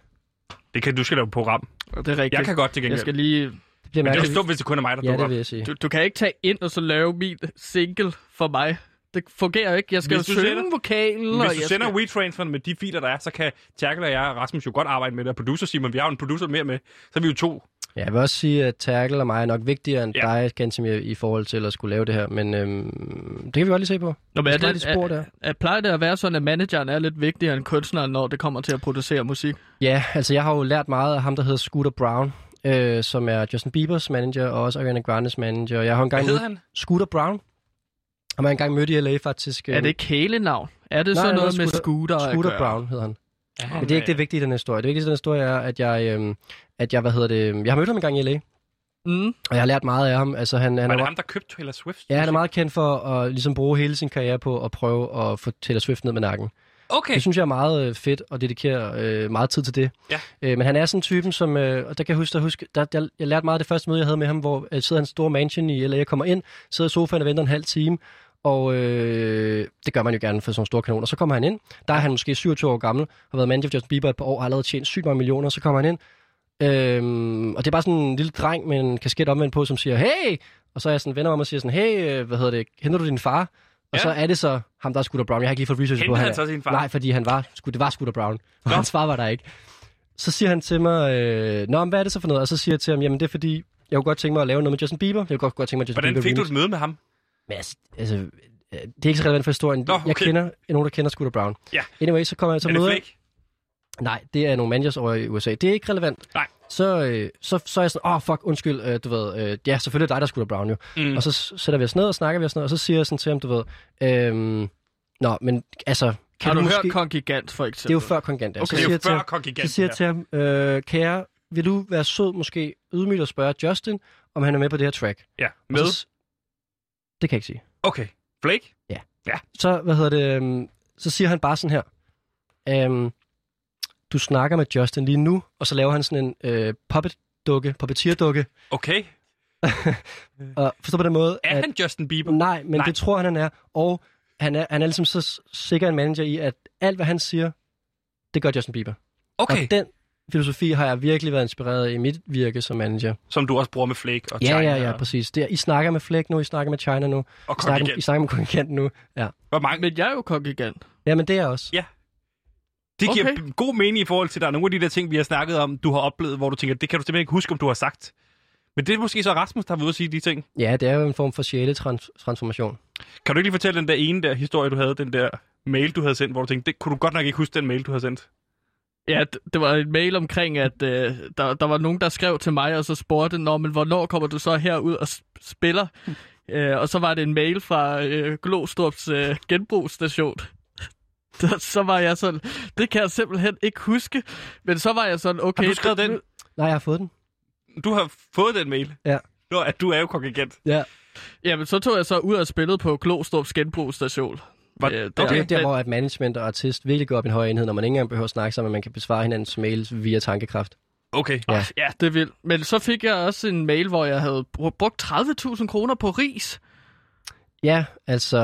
Speaker 1: Det kan du skal lave et program.
Speaker 2: Det er rigtigt.
Speaker 1: Jeg kan godt til gengæld.
Speaker 2: jeg skal lige...
Speaker 5: Det bliver
Speaker 1: Men det er
Speaker 5: mærkeligt.
Speaker 1: jo dumt, hvis det kun er mig, der
Speaker 5: Ja,
Speaker 1: dukker
Speaker 5: det
Speaker 1: op.
Speaker 5: vil jeg sige.
Speaker 2: Du, du kan ikke tage ind og så lave min single for mig. Det fungerer ikke. Jeg skal
Speaker 1: Hvis du
Speaker 2: jo synge
Speaker 1: sender-
Speaker 2: vokalen. og
Speaker 1: Hvis du
Speaker 2: jeg
Speaker 1: sender
Speaker 2: skal...
Speaker 1: WeTransfer med de filer, der er, så kan Terkel og jeg og Rasmus jo godt arbejde med det. Og producer Simon, vi har jo en producer mere med. Så er vi jo to.
Speaker 5: Ja, jeg vil også sige, at Terkel og mig er nok vigtigere end
Speaker 1: Ja.
Speaker 5: ja. dig, Gansimir, i forhold til at skulle lave det her. Men øhm, det kan vi godt lige se på.
Speaker 2: Nå, men er
Speaker 5: Jeg skal
Speaker 2: det,
Speaker 5: lige spore
Speaker 2: er, er,
Speaker 5: der.
Speaker 2: er, plejer det at være sådan, at manageren er lidt vigtigere end kunstneren, når det kommer til at producere musik?
Speaker 5: Ja, altså jeg har jo lært meget af ham, der hedder Scooter Brown, øh, som er Justin Biebers manager og også Ariana Grandes manager. Jeg har jo
Speaker 1: Hvad
Speaker 5: engang
Speaker 1: hedder han?
Speaker 5: Scooter Brown. Og man har engang mødt i LA faktisk. øh,
Speaker 2: Er det ikke kælenavn? Er det
Speaker 5: Nej,
Speaker 2: sådan
Speaker 5: det er
Speaker 2: noget med
Speaker 5: Scooter-
Speaker 2: scooter, at
Speaker 5: Scooter
Speaker 2: gøre?
Speaker 5: Brown hedder han.
Speaker 1: Ja,
Speaker 5: Men det er ikke det vigtige i den her historie. Det vigtigste i den her historie er, at jeg, øhm, at jeg, hvad hedder det, jeg har mødt ham engang i LA,
Speaker 2: Mm.
Speaker 5: og jeg har lært meget af ham. Altså, han, han
Speaker 1: Var
Speaker 5: er
Speaker 1: det ham, der købte Taylor Swift?
Speaker 5: Ja, han er meget kendt for at ligesom bruge hele sin karriere på at prøve at få Taylor Swift ned med nakken.
Speaker 1: Okay.
Speaker 5: Det synes jeg er meget øh, fedt og dedikerer øh, meget tid til det.
Speaker 1: Ja.
Speaker 5: Øh, men han er sådan en typen, som... Øh, og der kan jeg huske, der, huske der, der, jeg lærte meget af det første møde, jeg havde med ham, hvor øh, sidder i hans store mansion i, eller jeg kommer ind, sidder i sofaen og venter en halv time, og øh, det gør man jo gerne for sådan nogle store kanoner. Så kommer han ind, der er han måske 27 år gammel, har været manager for Justin Bieber et par år, har allerede tjent sygt mange millioner, så kommer han ind, Øhm, og det er bare sådan en lille dreng med en kasket omvendt på, som siger, hey! Og så er jeg sådan venner om og siger sådan, hey, øh, hvad hedder det, henter du din far? Og
Speaker 1: Ja.
Speaker 5: ja. så er det så ham, der er Scooter Brown. Jeg har ikke lige fået research på,
Speaker 1: Kendte
Speaker 5: han
Speaker 1: han
Speaker 5: er.
Speaker 1: så sin far?
Speaker 5: Nej, fordi han var, sgu- det var Scooter Brown. Og hans far var der ikke. Så siger han til mig, øh, Nå, men hvad er det så for noget? Og så siger jeg til ham, jamen det er fordi, jeg kunne godt tænke mig at lave noget med Justin Bieber. Jeg kunne godt, godt tænke mig at Justin
Speaker 1: Hvordan
Speaker 5: Bieber
Speaker 1: fik du
Speaker 5: remix.
Speaker 1: et møde med ham?
Speaker 5: Men altså, altså, Øh, Det er ikke så relevant for historien.
Speaker 1: Nå, okay.
Speaker 5: Jeg kender nogen, der kender Scooter Brown.
Speaker 1: Ja.
Speaker 5: Anyway, så kommer jeg så
Speaker 1: er det
Speaker 5: møder...
Speaker 1: flæk?
Speaker 5: Nej, det er nogle manjas over i USA. Det er ikke relevant.
Speaker 1: Nej.
Speaker 5: Så, øh, så, så er jeg sådan, åh, oh, fuck, undskyld, øh, du ved, øh, ja, selvfølgelig er det dig, der skulle Brown jo.
Speaker 1: Mm.
Speaker 5: Og så s- sætter vi os ned og snakker vi os ned, og så siger jeg sådan til ham, du ved, øhm, nå, men altså, kan
Speaker 2: Har du
Speaker 5: måske...
Speaker 2: hørt Kong Gigant, for eksempel?
Speaker 5: Det er jo før Kong Gandalf.
Speaker 1: Okay,
Speaker 5: så
Speaker 1: det er
Speaker 5: siger
Speaker 1: jo
Speaker 5: jeg til
Speaker 1: før
Speaker 5: ham-
Speaker 1: Kong Gigant,
Speaker 5: Så siger jeg
Speaker 1: det
Speaker 5: til ham, øh, kære, vil du være sød måske ydmygt at spørge Justin, om han er med på det her track? Og
Speaker 1: Ja, med.
Speaker 5: Så, s- det kan jeg ikke sige.
Speaker 1: Okay, Flake?
Speaker 5: Så, hvad hedder det, øhm, så siger han bare sådan her, øhm, du snakker med Justin lige nu, og så laver han sådan en øh, puppet-dukke, puppeteer-dukke,
Speaker 1: Okay.
Speaker 5: og forstår på den måde,
Speaker 1: Er
Speaker 5: at
Speaker 1: han Justin Bieber?
Speaker 5: nej, men
Speaker 1: Nej.
Speaker 5: det tror han, han er, og han er, han er ligesom så s- sikker en manager i, at alt, hvad han siger, det gør Justin Bieber.
Speaker 1: Okay,
Speaker 5: Og den filosofi har jeg virkelig været inspireret i mit virke som manager.
Speaker 1: som du også bruger med Flake og
Speaker 5: Ja,
Speaker 1: China
Speaker 5: ja, ja,
Speaker 1: og-
Speaker 5: præcis. Det er, I snakker med Flæk nu, I snakker med China nu,
Speaker 1: og
Speaker 5: I
Speaker 1: Kong
Speaker 5: snakker, I
Speaker 1: Gigant.
Speaker 5: snakker med Kongigant nu. Ja.
Speaker 1: Hvor mange?
Speaker 2: Men jeg er jo Kong Gigant.
Speaker 5: ja, men det er jeg også.
Speaker 1: Det giver
Speaker 2: Okay.
Speaker 1: god mening i forhold til, at der er nogle af de der ting, vi har snakket om, du har oplevet, hvor du tænker, det kan du simpelthen ikke huske, om du har sagt. Men det er måske så Rasmus, der har været ude at sige de ting.
Speaker 5: Ja, det er jo en form for sjæletransformation.
Speaker 1: Kan du ikke lige fortælle den der ene der historie, du havde, den der mail, du havde sendt, hvor du tænkte, det kunne du godt nok ikke huske, den mail, du havde sendt.
Speaker 2: Ja, d- det var en mail omkring, at øh, der, der var nogen, der skrev til mig, og så spurgte, Nå, men hvornår kommer du så herud og s- spiller? Øh, og så var det en mail fra øh, Glostrups øh, genbrugsstation. Så- så var jeg sådan, det kan jeg simpelthen ikke huske. Men så var jeg sådan, okay...
Speaker 1: Har du skrevet den?
Speaker 5: Nej, jeg har fået den.
Speaker 1: Du har fået den mail.
Speaker 5: Ja.
Speaker 1: Nå, at du er jo kongregant.
Speaker 5: Ja,
Speaker 2: Jamen, så tog jeg så ud og spillede på Glostrups genbrugsstation.
Speaker 1: Var-
Speaker 5: okay. det er
Speaker 2: men-
Speaker 5: jo der, hvor at management og artist virkelig går op i en høj enhed, når man ikke engang behøver at snakke sammen, men man kan besvare hinandens mails via tankekraft.
Speaker 1: Okay.
Speaker 5: Ja.
Speaker 2: Ja. ja, det er vildt. Men så fik jeg også en mail, hvor jeg havde br- brugt 30.000 kroner på ris.
Speaker 5: Ja, altså,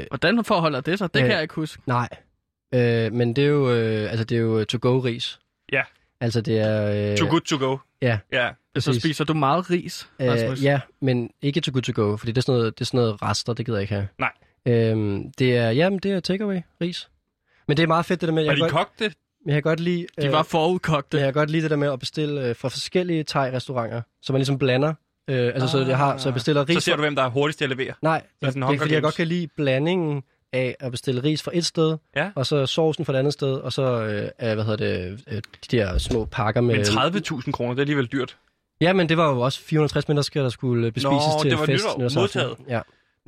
Speaker 5: øh,
Speaker 2: Hvordan forholder det sig? Det
Speaker 5: Øh,
Speaker 2: kan jeg ikke huske.
Speaker 5: nej. Øh, men det er jo, øh, altså, det er jo to-go-ris.
Speaker 1: Ja.
Speaker 5: Altså, det er... Øh,
Speaker 1: Too good to go.
Speaker 5: Ja.
Speaker 1: Ja.
Speaker 2: Så
Speaker 5: præcis.
Speaker 2: spiser du meget ris, Rasmus.
Speaker 5: Øh, ja, men ikke to good to go, fordi det er sådan noget, det er sådan noget rester, det gider jeg ikke have.
Speaker 1: Nej.
Speaker 5: Øhm, det er, jamen, det er takeaway, ris. Men det er meget fedt det der med,
Speaker 1: Var
Speaker 5: jeg kan
Speaker 1: de
Speaker 5: godt,
Speaker 1: kogte?
Speaker 5: jeg kan godt lide, øh,
Speaker 2: De var forudkogte.
Speaker 5: jeg kan godt lide det der med at bestille øh, fra forskellige thai-restauranter, så man ligesom blander. Øh, altså, ah, så, jeg har, så jeg bestiller ris.
Speaker 1: Så ser du, hvem der er hurtigst til at levere.
Speaker 5: Nej,
Speaker 1: er
Speaker 5: det,
Speaker 1: sådan
Speaker 5: det er
Speaker 1: Hunger
Speaker 5: fordi, jeg godt
Speaker 1: Games.
Speaker 5: kan lide blandingen af at bestille ris fra et sted,
Speaker 1: Ja.
Speaker 5: og så sovsen fra et andet sted, og så, øh, er- hvad hedder det, øh, de der små pakker med...
Speaker 1: Men 30.000 kroner, det er alligevel dyrt.
Speaker 5: Ja, men det var jo også 460 mennesker, der skulle øh, bespises
Speaker 1: Nå,
Speaker 5: til
Speaker 1: det var
Speaker 5: fest.
Speaker 1: nytår-
Speaker 5: nytårsaften.
Speaker 1: modtaget.
Speaker 5: Ja.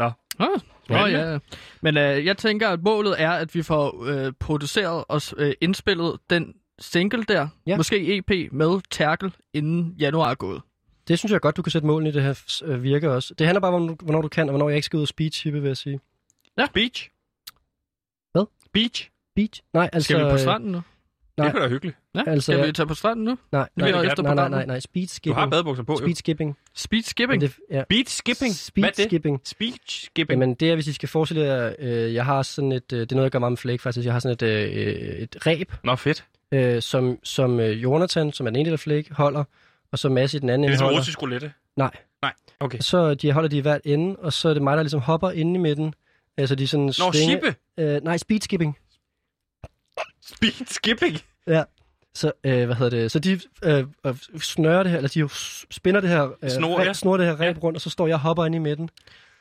Speaker 2: Ah, Nå
Speaker 1: Spændende.
Speaker 2: ja. Men øh, jeg tænker, at målet er, at vi får øh, produceret og s- øh, indspillet den single der,
Speaker 5: Ja.
Speaker 2: måske EP med Terkel, inden januar er gået.
Speaker 5: Det synes jeg godt, du kan sætte målen i det her øh, virke også. Det handler bare om, hvornår du kan, og hvornår jeg ikke skal ud og speedchippe, vil jeg sige.
Speaker 1: Beach?
Speaker 5: Hvad?
Speaker 1: Beach?
Speaker 5: Beach? Nej, altså...
Speaker 2: Skal vi på
Speaker 5: øh,
Speaker 2: stranden nu?
Speaker 1: Nej.
Speaker 5: Nej.
Speaker 1: Det kunne da være hyggeligt.
Speaker 2: Ja,
Speaker 5: altså,
Speaker 2: altså, skal
Speaker 5: jeg-
Speaker 2: vi tage på stranden nu?
Speaker 5: Nej,
Speaker 2: bliver
Speaker 5: nej,
Speaker 2: jo
Speaker 5: nej,
Speaker 2: efter
Speaker 5: nej, nej,
Speaker 2: programmet.
Speaker 5: nej, nej, speed
Speaker 1: Du har
Speaker 5: skipping.
Speaker 1: badebukser på, jo.
Speaker 5: Speed skipping.
Speaker 2: Speed
Speaker 5: Men
Speaker 2: skipping?
Speaker 5: det, ja.
Speaker 1: Beach skipping?
Speaker 5: Speed
Speaker 1: Hvad er det?
Speaker 5: skipping.
Speaker 1: Speech skipping.
Speaker 5: Jamen, det er, hvis I skal forestille jer, øh, jeg har sådan et, øh, det er noget, jeg gør meget med Flake faktisk, jeg har sådan et, øh, et ræb,
Speaker 1: Nå, fedt.
Speaker 5: øh, som, som øh, Jonathan, som er den ene del af Flake, holder, og så Mads i den anden
Speaker 1: Det er
Speaker 5: ende
Speaker 1: ligesom
Speaker 5: holder.
Speaker 1: russisk roulette.
Speaker 5: Nej.
Speaker 1: Nej, okay.
Speaker 5: Så de holder de i hvert ende, og så er det mig, der ligesom hopper inde i midten. Altså, de er sådan
Speaker 1: Nå,
Speaker 5: svinge-
Speaker 1: shippe.
Speaker 5: Øh, nej, speed skipping.
Speaker 1: Speed skipping.
Speaker 5: Så, øh, hvad hedder det, så de øh, øh, snører det her, eller de s- spinder det her, øh,
Speaker 1: Snor,
Speaker 5: ræb-
Speaker 1: ja.
Speaker 5: snor det her ræb rundt, og så står jeg og hopper inde i midten.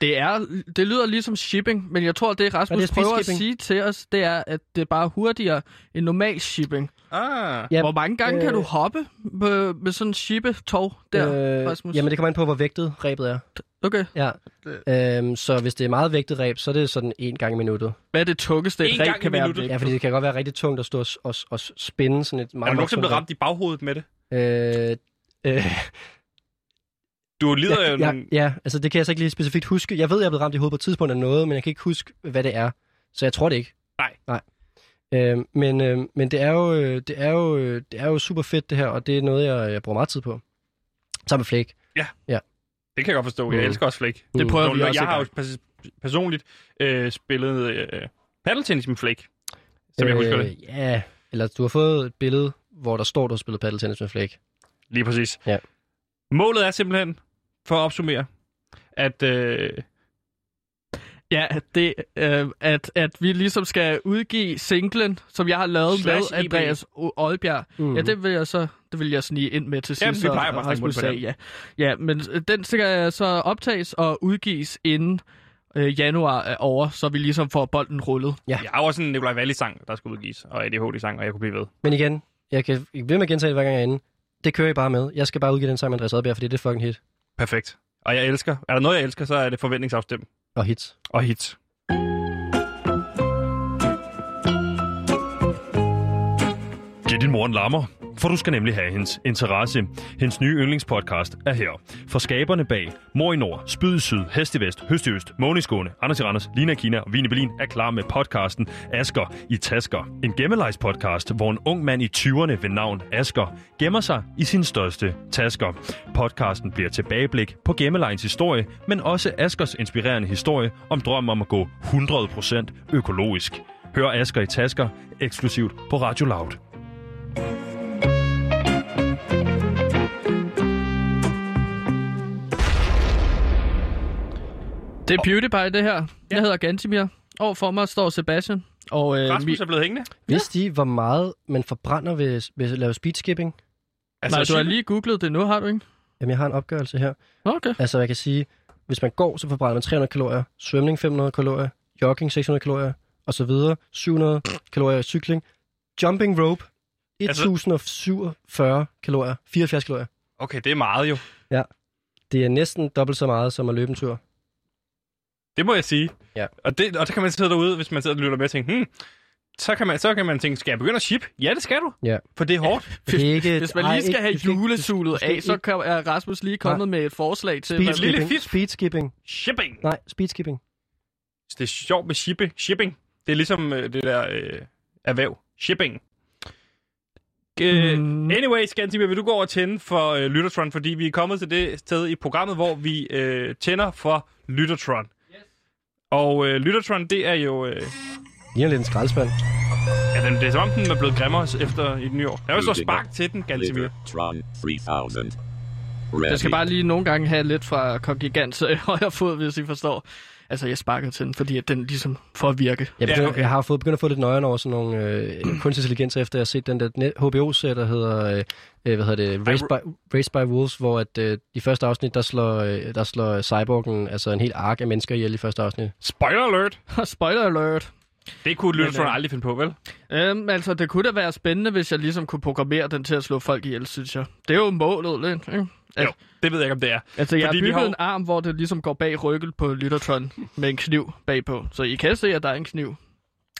Speaker 2: Det, er, det lyder ligesom shipping, men jeg tror, det Rasmus
Speaker 5: Ja,
Speaker 2: det
Speaker 5: det er
Speaker 2: prøver at
Speaker 5: speedskipping.
Speaker 2: sige til os, det er, at det er bare hurtigere end normal shipping.
Speaker 1: Ah.
Speaker 5: Ja,
Speaker 2: Hvor mange gange øh, kan
Speaker 5: øh,
Speaker 2: du hoppe med, med sådan en shippetog der, øh, Rasmus?
Speaker 5: jamen, det kommer an på, hvor vægtet ræbet er.
Speaker 2: Okay.
Speaker 5: Ja. Øhm, så hvis det er meget vægtet ræb, så er det sådan en gang i minuttet.
Speaker 2: Hvad er det tungeste,
Speaker 1: En
Speaker 2: et ræb
Speaker 1: gang i
Speaker 2: kan være?
Speaker 1: minuttet.
Speaker 5: Ja, fordi det kan godt være rigtig tungt at stå og, s- og, s- og s- spænde sådan et
Speaker 1: Er
Speaker 5: meget...
Speaker 1: der nogen,
Speaker 5: meget
Speaker 1: som blev
Speaker 5: tungt
Speaker 1: ramt i baghovedet med det?
Speaker 5: ræb. Øh, øh,
Speaker 1: Du lider jo
Speaker 5: ja,
Speaker 1: en...
Speaker 5: ja, ja, altså det kan jeg så ikke lige specifikt huske. Jeg ved, jeg er blevet ramt i hovedet på et tidspunkt af noget, men jeg kan ikke huske, hvad det er. Så jeg tror det ikke.
Speaker 1: Nej.
Speaker 5: Nej. Øhm, men, øhm, men det er jo øh, det er jo øh, det er jo super fedt det her, og det er noget jeg, jeg bruger meget tid på. Sammen med Flake.
Speaker 1: Det kan jeg godt forstå. Jeg
Speaker 5: Mm.
Speaker 1: elsker også flæk.
Speaker 2: Det prøver
Speaker 1: Nå,
Speaker 2: vi
Speaker 1: nå,
Speaker 2: også
Speaker 1: jeg
Speaker 2: en
Speaker 1: har jo pers- personligt øh, spillet øh, paddeltennis med flæk. Som jeg husker
Speaker 5: Øh,
Speaker 1: det.
Speaker 5: Ja, eller du har fået et billede, hvor der står, du har spillet paddeltennis med Flake.
Speaker 1: Lige præcis.
Speaker 5: Ja.
Speaker 1: Målet er simpelthen, for at opsummere, at... Øh,
Speaker 2: Ja, at det, øh, at, at vi ligesom skal udgive singlen, som jeg har lavet
Speaker 1: Slash
Speaker 2: med
Speaker 1: EP.
Speaker 2: Andreas O- Oldbjerg. Mm. Ja, det vil jeg så det vil jeg snige ind med til sidst.
Speaker 1: Jamen, vi
Speaker 2: så
Speaker 1: plejer bare at snakke
Speaker 2: Rasmus
Speaker 1: mund på
Speaker 2: sagde ja. ja, men øh, den skal så optages og udgives inden øh, januar er over, så vi ligesom får bolden rullet.
Speaker 5: Ja.
Speaker 1: Jeg har også en Nikolaj Valli-sang, der skal udgives, og ADHD-sang, og jeg kunne blive ved.
Speaker 5: Men igen, jeg kan ikke blive med at gentage det, hver gang jeg er inde. Det kører I bare med. Jeg skal bare udgive den sang med Andreas Adbjerg, fordi det er fucking hit.
Speaker 1: Perfekt. Og jeg elsker. Er der noget, jeg elsker, så er det forventningsafstem
Speaker 5: Og hits.
Speaker 1: og hits.
Speaker 8: Giv din mor en lammer, for du skal nemlig have hendes interesse. Hendes nye yndlingspodcast er her. For skaberne bag Mor i Nord, Spyd i Syd, Hest i Vest, Høst i Øst, Måne i Skåne, Anders i Randers, Lina i Kina og Vine i Berlin er klar med podcasten Asker i Tasker. En gemmelejspodcast, hvor en ung mand i 20'erne ved navn Asker gemmer sig i sin største tasker. Podcasten bliver tilbageblik på gemmelejens historie, men også Askers inspirerende historie om drømmen om at gå 100% økologisk. Hør Asker i Tasker eksklusivt på Radio Loud.
Speaker 2: Det er Beauty Pie, det her. Jeg hedder Gantimir. Over for mig står Sebastian. Og, øh,
Speaker 1: Rasmus
Speaker 2: mi-
Speaker 1: er blevet hængende.
Speaker 5: Vidste I, hvor meget man forbrænder ved, ved at lave speedskipping?
Speaker 1: Altså,
Speaker 2: nej, du har lige googlet det nu, har du ikke?
Speaker 5: Jamen, jeg har en opgørelse her.
Speaker 2: Nå, Okay.
Speaker 5: Altså, jeg kan sige, hvis man går, så forbrænder man 300 kalorier, svømning 500 kalorier, jogging 600 kalorier, og så videre. 700 kalorier i cykling, jumping rope
Speaker 2: Altså-
Speaker 5: 1047 kalorier, 74 kalorier.
Speaker 1: Okay, det er meget jo.
Speaker 5: Det er næsten dobbelt så meget som at løbe en tur.
Speaker 1: Det må jeg sige.
Speaker 5: Ja.
Speaker 1: Og, det, og så kan man sidde derude, hvis man sidder og lytter med og tænke, hmm, så kan, man, så kan man tænke, skal jeg begynde at ship? Ja, det skal du.
Speaker 5: Ja.
Speaker 1: For det er hårdt.
Speaker 5: Det er ikke,
Speaker 2: Hvis man
Speaker 5: ej,
Speaker 2: lige skal
Speaker 5: ikke-
Speaker 2: have
Speaker 5: du skal ikke-
Speaker 2: julesulet
Speaker 5: skal
Speaker 2: af,
Speaker 5: ikke-
Speaker 2: så kan- er Rasmus lige kommet med et forslag til, hvad
Speaker 1: lille
Speaker 5: Speedskipping.
Speaker 1: fif.
Speaker 5: Speedskipping.
Speaker 1: Shipping.
Speaker 5: Nej, speedskipping.
Speaker 1: Så Det er sjovt med shipping. shipping. Det er ligesom øh, det der øh, erhverv. Shipping.
Speaker 2: Mm.
Speaker 1: Mm. Anyway, Scantimir, vil du gå over og tænde for øh, Lyttertron, fordi vi er kommet til det sted i programmet, hvor vi øh, tænder for Lyttertron. Yes. Og øh, Lyttertron, det er jo... Øh,
Speaker 5: Lige lidt en skraldespand.
Speaker 1: ja, den, det er som om, den er blevet grimmere efter i nye år. Der er jo så spark til den, Scantimir.
Speaker 9: Tron 3000.
Speaker 2: Jeg skal bare lige nogle gange have lidt fra Kong Gigants øh, højre fod, hvis I forstår. Altså, jeg sparker til den, fordi at den ligesom får at virke.
Speaker 5: Jeg, begynder, ja,
Speaker 1: okay.
Speaker 5: okay. jeg har fået, begyndt at få lidt nøjeren over sådan nogle øh, kunstig intelligens, efter jeg har set den der net- HBO-serie, der hedder, øh, øh, hvad hedder det, Race by, Race by Wolves, hvor at, øh, i første afsnit, der slår, øh, der slår cyborgen, altså en hel ark af mennesker ihjel i første afsnit.
Speaker 1: Spoiler alert!
Speaker 2: Spoiler alert.
Speaker 1: Det kunne Lyttertron
Speaker 2: øh,
Speaker 1: aldrig finde på, vel?
Speaker 2: Øhm, altså, det kunne da være spændende, hvis jeg ligesom kunne programmere den til at slå folk ihjel, synes jeg. Det er jo målet lidt, ikke?
Speaker 1: Jo, det ved jeg ikke, om det er.
Speaker 2: Altså, jeg har
Speaker 1: Fordi vi
Speaker 2: bygget har...
Speaker 1: har-
Speaker 2: en arm, hvor det ligesom går bag rykket på Lyttertron med en kniv bagpå. Så I kan se, at der er en kniv.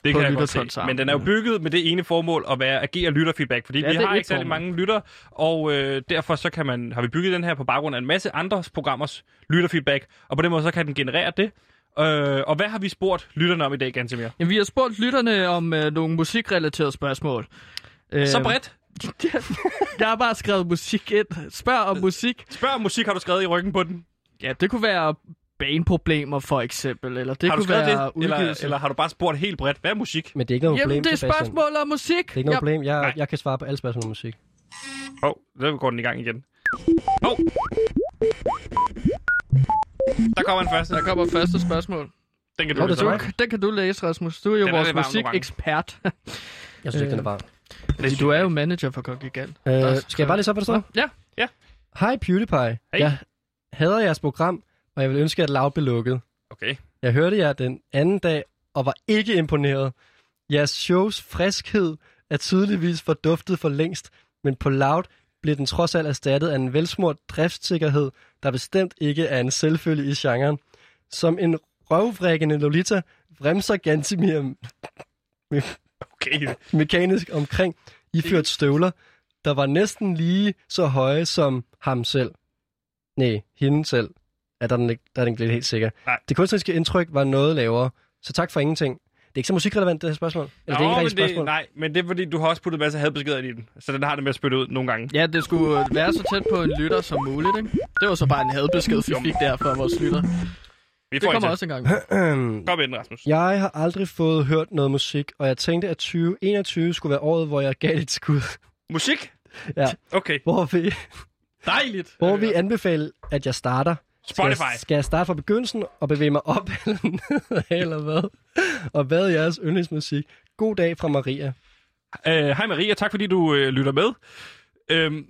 Speaker 1: Det kan
Speaker 2: på
Speaker 1: jeg godt
Speaker 2: Lyttertons
Speaker 1: se.
Speaker 2: arm.
Speaker 1: Men den er jo bygget med det ene formål at være agere lytterfeedback, fordi
Speaker 2: Ja,
Speaker 1: ja, vi
Speaker 2: det er
Speaker 1: har
Speaker 2: et
Speaker 1: ikke særlig
Speaker 2: formål.
Speaker 1: mange lytter, og øh, derfor så kan man, har vi bygget den her på baggrund af en masse andre programmers lytterfeedback, og på den måde så kan den generere det. Øh, og hvad har vi spurgt lytterne om i dag, Gantemir?
Speaker 2: Jamen, vi har spurgt lytterne om øh, nogle musikrelaterede spørgsmål. Øh,
Speaker 1: Så bredt.
Speaker 2: jeg har bare skrevet musik ind. Spørg om musik.
Speaker 1: Spørg om musik, har du skrevet i ryggen på den?
Speaker 2: Ja, det kunne være baneproblemer for eksempel, eller det
Speaker 1: har du
Speaker 2: kunne
Speaker 1: skrevet
Speaker 2: være
Speaker 1: det? Eller,
Speaker 2: udgivelse.
Speaker 1: eller har du bare spurgt helt bredt? Hvad er musik?
Speaker 5: Men det er ikke noget problem,
Speaker 2: Jamen, det er
Speaker 5: Sebastian.
Speaker 2: spørgsmål om musik.
Speaker 5: Det er ikke noget problem. Jeg,
Speaker 1: Nej.
Speaker 5: jeg kan svare på alle spørgsmål om musik.
Speaker 1: Åh, oh, der går den i gang igen. Åh! Oh. Der kommer den første.
Speaker 2: Der kommer første spørgsmål.
Speaker 1: Den kan du
Speaker 5: Nå, det
Speaker 1: læse
Speaker 5: er
Speaker 1: op.
Speaker 5: mig.
Speaker 2: Den kan du læse, Rasmus. Du er jo
Speaker 1: Den er
Speaker 2: vores
Speaker 1: lidt varm nogle gange.
Speaker 2: musikekspert.
Speaker 5: Jeg synes ikke, den er varm.
Speaker 2: Fordi du er jo manager for Kong Gigant.
Speaker 5: Øh,
Speaker 2: Først-
Speaker 5: skal jeg bare læse op, hvad der står?
Speaker 2: Ja.
Speaker 1: Ja.
Speaker 5: Hej PewDiePie.
Speaker 1: Hej.
Speaker 5: Jeg hader jeres program, og jeg vil ønske, at lav blev lukket.
Speaker 1: Okay.
Speaker 5: Jeg hørte jer den anden dag og var ikke imponeret. Jeres shows friskhed er tydeligvis forduftet for længst, men på Loud blev den trods alt erstattet af en velsmurt driftssikkerhed, der bestemt ikke er en selvfølge i genren. Som en røvvrækkende Lolita bremser Gantimir
Speaker 1: Okay.
Speaker 5: mekanisk omkring iført støvler, der var næsten lige så høje som ham selv. Nej, hende selv. Ja, der er den, ikke- der er den lidt helt sikker.
Speaker 1: Nej.
Speaker 5: Det kunstneriske indtryk var noget lavere, så tak for ingenting. Det er ikke så musikrelevant, det her spørgsmål. Eller det er ikke
Speaker 1: men
Speaker 5: et rigtigt spørgsmål.
Speaker 1: nej, men det er fordi, du har også puttet en masse hadbeskeder ind i den. Så den har det med at spytte ud nogle gange.
Speaker 2: Ja, det skulle øh, være så tæt på en lytter som muligt, ikke? Det var så bare en hadbesked, vi fik der fra vores lytter.
Speaker 1: Vi
Speaker 2: Det
Speaker 1: får
Speaker 2: kommer
Speaker 1: en
Speaker 2: også en gang.
Speaker 5: Øhm,
Speaker 1: Kom ind, Rasmus.
Speaker 5: Jeg har aldrig fået hørt noget musik, og jeg tænkte, at 2021 skulle være året, hvor jeg gav det et skud.
Speaker 1: Musik?
Speaker 5: Ja.
Speaker 1: Okay.
Speaker 5: Hvor vi,
Speaker 1: Dejligt.
Speaker 5: hvor vi anbefale, at jeg starter. Skal
Speaker 1: Spotify.
Speaker 5: jeg, skal jeg starte fra begyndelsen og bevæge mig op eller ned, eller hvad? Og hvad er jeres yndlingsmusik? God dag fra Maria.
Speaker 1: Øh, Hej Maria, tak fordi du øh, lytter med. Øhm,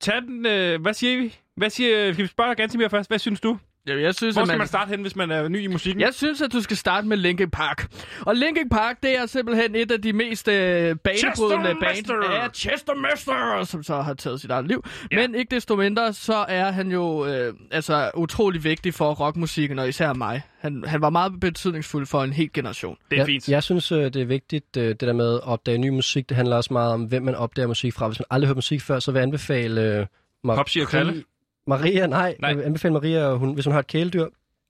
Speaker 1: tag den, øh, hvad siger vi? Hvad siger, skal vi spørge Gansimir først? Hvad synes du?
Speaker 2: Jeg, jeg synes,
Speaker 1: Hvor
Speaker 2: at
Speaker 1: skal man starte hen, hvis man er ny i musikken?
Speaker 2: Jeg synes, at du skal starte med Linkin Park. Og Linkin Park, det er simpelthen et af de mest øh, banebrydende
Speaker 1: Chester
Speaker 2: band.
Speaker 1: Mester!
Speaker 2: Ja, Chester Mester, som så har taget sit eget liv. Ja. Men ikke desto mindre, så er han jo øh, altså utrolig vigtig for rockmusikken, og især mig. Han, han var meget betydningsfuld for en hel generation.
Speaker 1: Det er fint.
Speaker 5: Jeg, jeg synes, øh, det er vigtigt, øh, det der med at opdage ny musik. Det handler også meget om, hvem man opdager musik fra. Hvis man aldrig har hørt musik før, så vil jeg anbefale... Øh, Mar-
Speaker 1: Popsi og Kalle?
Speaker 5: Maria, nej.
Speaker 1: Nej.
Speaker 5: nej. Jeg vil anbefale Maria, hun, hvis hun har et kæledyr,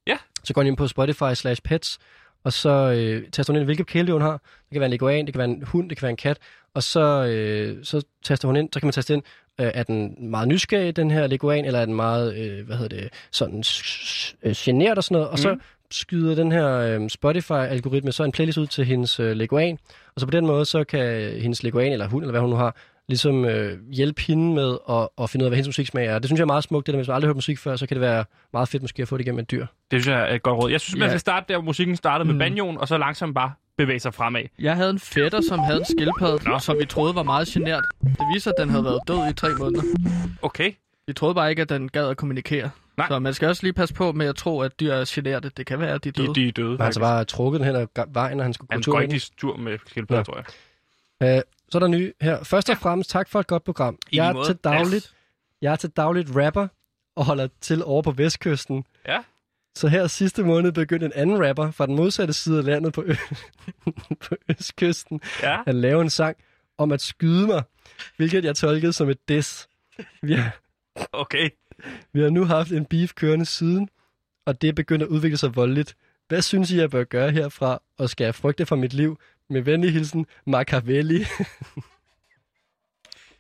Speaker 1: Ja.
Speaker 5: så går hun ind på Spotify slash pets, og så øh, taster hun ind, hvilket kæledyr hun har. Det kan være en leguan, det kan være en hund, det kan være en kat. Og så, øh, så taster hun ind, så kan man taste ind, øh, er den meget nysgerrig, den her leguan, eller er den meget, øh, hvad hedder det, sådan s- s- øh, genert og sådan noget. Og
Speaker 1: Mm.
Speaker 5: så skyder den her øh, Spotify-algoritme så en playlist ud til hendes øh, leguan, og så på den måde, så kan hendes leguan eller hund, eller hvad hun nu har, ligesom øh, hjælpe hende med at, at finde ud af, hvad hendes musiksmag er. Det synes jeg er meget smukt, det der med, hvis man aldrig har hørt musik før, så kan det være meget fedt måske at få det igennem et dyr.
Speaker 1: Det synes jeg er et godt råd. Jeg synes, man
Speaker 2: Ja.
Speaker 1: skal starte der, hvor musikken startede
Speaker 5: Mm.
Speaker 1: med banjoen, og så langsomt bare bevæge sig fremad.
Speaker 2: Jeg havde en fætter, som havde en skildpadde, Nå. som vi troede var meget genert. Det viser, at den havde været død i tre måneder.
Speaker 1: Okay.
Speaker 2: Vi troede bare ikke, at den gad at kommunikere.
Speaker 1: Nej.
Speaker 2: Så man skal også lige passe på med at tro, at dyr er generte. Det kan være, at de er
Speaker 1: De,
Speaker 2: døde.
Speaker 1: de er døde.
Speaker 5: Men han
Speaker 1: faktisk.
Speaker 5: så altså bare trukket den hen ad ga- vejen, og han skulle gå
Speaker 1: Han
Speaker 5: tur
Speaker 1: går
Speaker 5: med
Speaker 1: ikke
Speaker 5: den.
Speaker 1: i tur med skildpadder,
Speaker 5: Nå.
Speaker 1: tror jeg.
Speaker 5: Øh, så er der nye her. Først og fremmest, tak for et godt program.
Speaker 1: I
Speaker 5: jeg,
Speaker 1: lige
Speaker 5: er
Speaker 1: måde.
Speaker 5: til dagligt, jeg er til dagligt rapper og holder til over på Vestkysten.
Speaker 1: Ja.
Speaker 5: Så her sidste måned begyndte en anden rapper fra den modsatte side af landet på, ø- på Østkysten
Speaker 1: Ja.
Speaker 5: at lave en sang om at skyde mig, hvilket jeg tolkede som et diss. Vi har,
Speaker 1: Okay.
Speaker 5: vi har nu haft en beef kørende siden, og det er begyndt at udvikle sig voldeligt. Hvad synes I, jeg bør gøre herfra, og skal jeg frygte for mit liv? Med venlig hilsen, Machiavelli.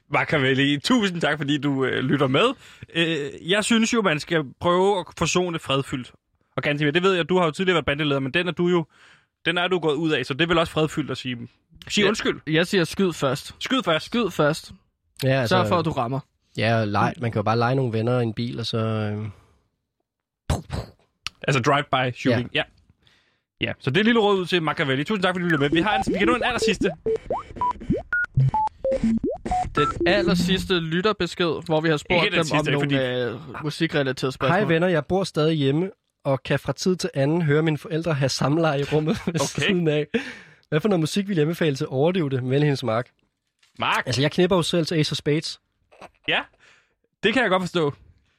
Speaker 1: Machiavelli, tusind tak, fordi du øh, lytter med. Øh, jeg synes jo, man skal prøve at forsone fredfyldt. Og Gantimir, det ved jeg, du har jo tidligere været bandeleder, men den er du jo den er du gået ud af, så det er vel også fredfyldt at sige, sig
Speaker 2: Ja.
Speaker 1: undskyld,
Speaker 2: Jeg siger skyd først.
Speaker 1: skyd først.
Speaker 2: Skyd først.
Speaker 5: Ja,
Speaker 2: Altså, Sørg for, at du rammer.
Speaker 5: Ja, og leg. man kan jo bare lege nogle venner i en bil, og så... Øh...
Speaker 1: Altså drive-by shooting. Ja. ja. så det er et lille råd ud til Machiavelli. Tusind tak, fordi du lytter med. Vi har en, vi kan nå en aller sidste.
Speaker 2: Den aller sidste lytterbesked, hvor vi har spurgt
Speaker 1: Ikke
Speaker 2: dem
Speaker 1: den
Speaker 2: om
Speaker 1: sidste, ikke?
Speaker 2: nogle øh, musikrelaterede spørgsmål.
Speaker 5: Hej venner, jeg bor stadig hjemme, og kan fra tid til anden høre mine forældre have samleje i rummet ved
Speaker 1: Okay.
Speaker 5: okay. siden af. Hvad for noget musik vil jeg anbefale til overlevede med hendes mark?
Speaker 1: Mark,
Speaker 5: Altså, jeg knipper jo selv til Ace of Spades.
Speaker 1: ja, det kan jeg godt forstå.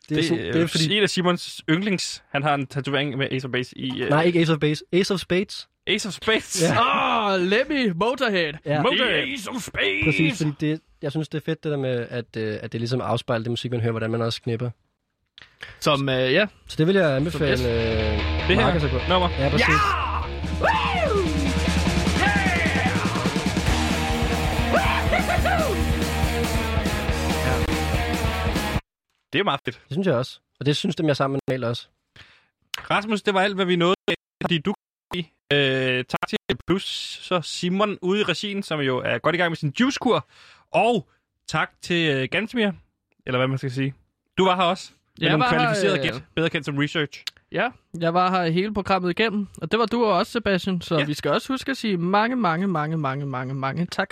Speaker 5: Det er, det, så, det er fordi...
Speaker 1: en af Simons yndlings. Han har en tatovering med Ace of Base i uh,
Speaker 5: Nej, ikke Ace of Spades. Ace of Spades.
Speaker 1: Ace of Spades.
Speaker 5: Ja.
Speaker 2: Åh, oh, Lemmy Motorhead.
Speaker 5: Ja,
Speaker 1: Motorhead. Ace of Spades.
Speaker 5: præcis, fordi det, jeg synes, det er fedt det der med, at, øh, at det ligesom afspejler det musik, man hører, hvordan man også knipper.
Speaker 2: Som, øh, ja.
Speaker 5: Så det vil jeg anbefale
Speaker 2: Som
Speaker 5: øh,
Speaker 1: Det
Speaker 5: Mark
Speaker 1: her
Speaker 5: altså gå.
Speaker 1: nummer.
Speaker 5: Ja, præcis. Ja!
Speaker 1: Det er meget fedt.
Speaker 5: Det synes jeg også. Og det synes dem, jeg er sammen med normalt også.
Speaker 1: Rasmus, det var alt, hvad vi nåede. Fordi du kan lide. øh, tak til Plus, så Simon ude i regien, som jo er godt i gang med sin juicekur. Og tak til øh, Gansmir, eller hvad man skal sige. Du var her også. Med
Speaker 2: Jeg
Speaker 1: nogle
Speaker 2: var her,
Speaker 1: kvalificerede
Speaker 2: øh,
Speaker 1: gæt, bedre kendt som research.
Speaker 2: Ja, jeg var her hele programmet igennem, og det var du også, Sebastian. Så
Speaker 1: Ja.
Speaker 2: ja. vi skal også huske at sige mange, mange, mange, mange, mange, mange tak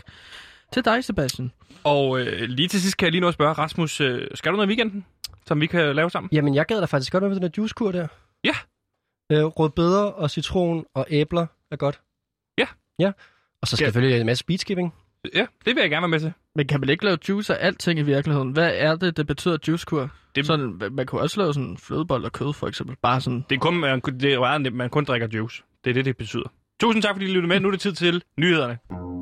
Speaker 2: til dig, Sebastian.
Speaker 1: Og øh, lige til sidst kan jeg lige nå at spørge, Rasmus, øh, skal du noget i weekenden, som vi kan lave sammen?
Speaker 5: Jamen, jeg gad da faktisk godt være med den der juicekur der.
Speaker 1: Ja.
Speaker 5: Øh, rødbeder og citron og æbler er godt.
Speaker 1: Ja.
Speaker 5: Ja. Og så skal
Speaker 1: Ja.
Speaker 5: ja. selvfølgelig en masse speedskipping.
Speaker 1: Ja, det vil jeg gerne være med til.
Speaker 2: Men kan man ikke lave juice af alting i virkeligheden? Hvad er det, det betyder juicekur?
Speaker 1: Det-
Speaker 2: Det... Sådan, man kunne også lave sådan flødebold og kød, for eksempel. Bare sådan
Speaker 1: Det er kun, man, det er meget nemt, man kun drikker juice. Det er det, det betyder. Tusind tak, fordi I lyttede med. Nu er det tid til nyhederne.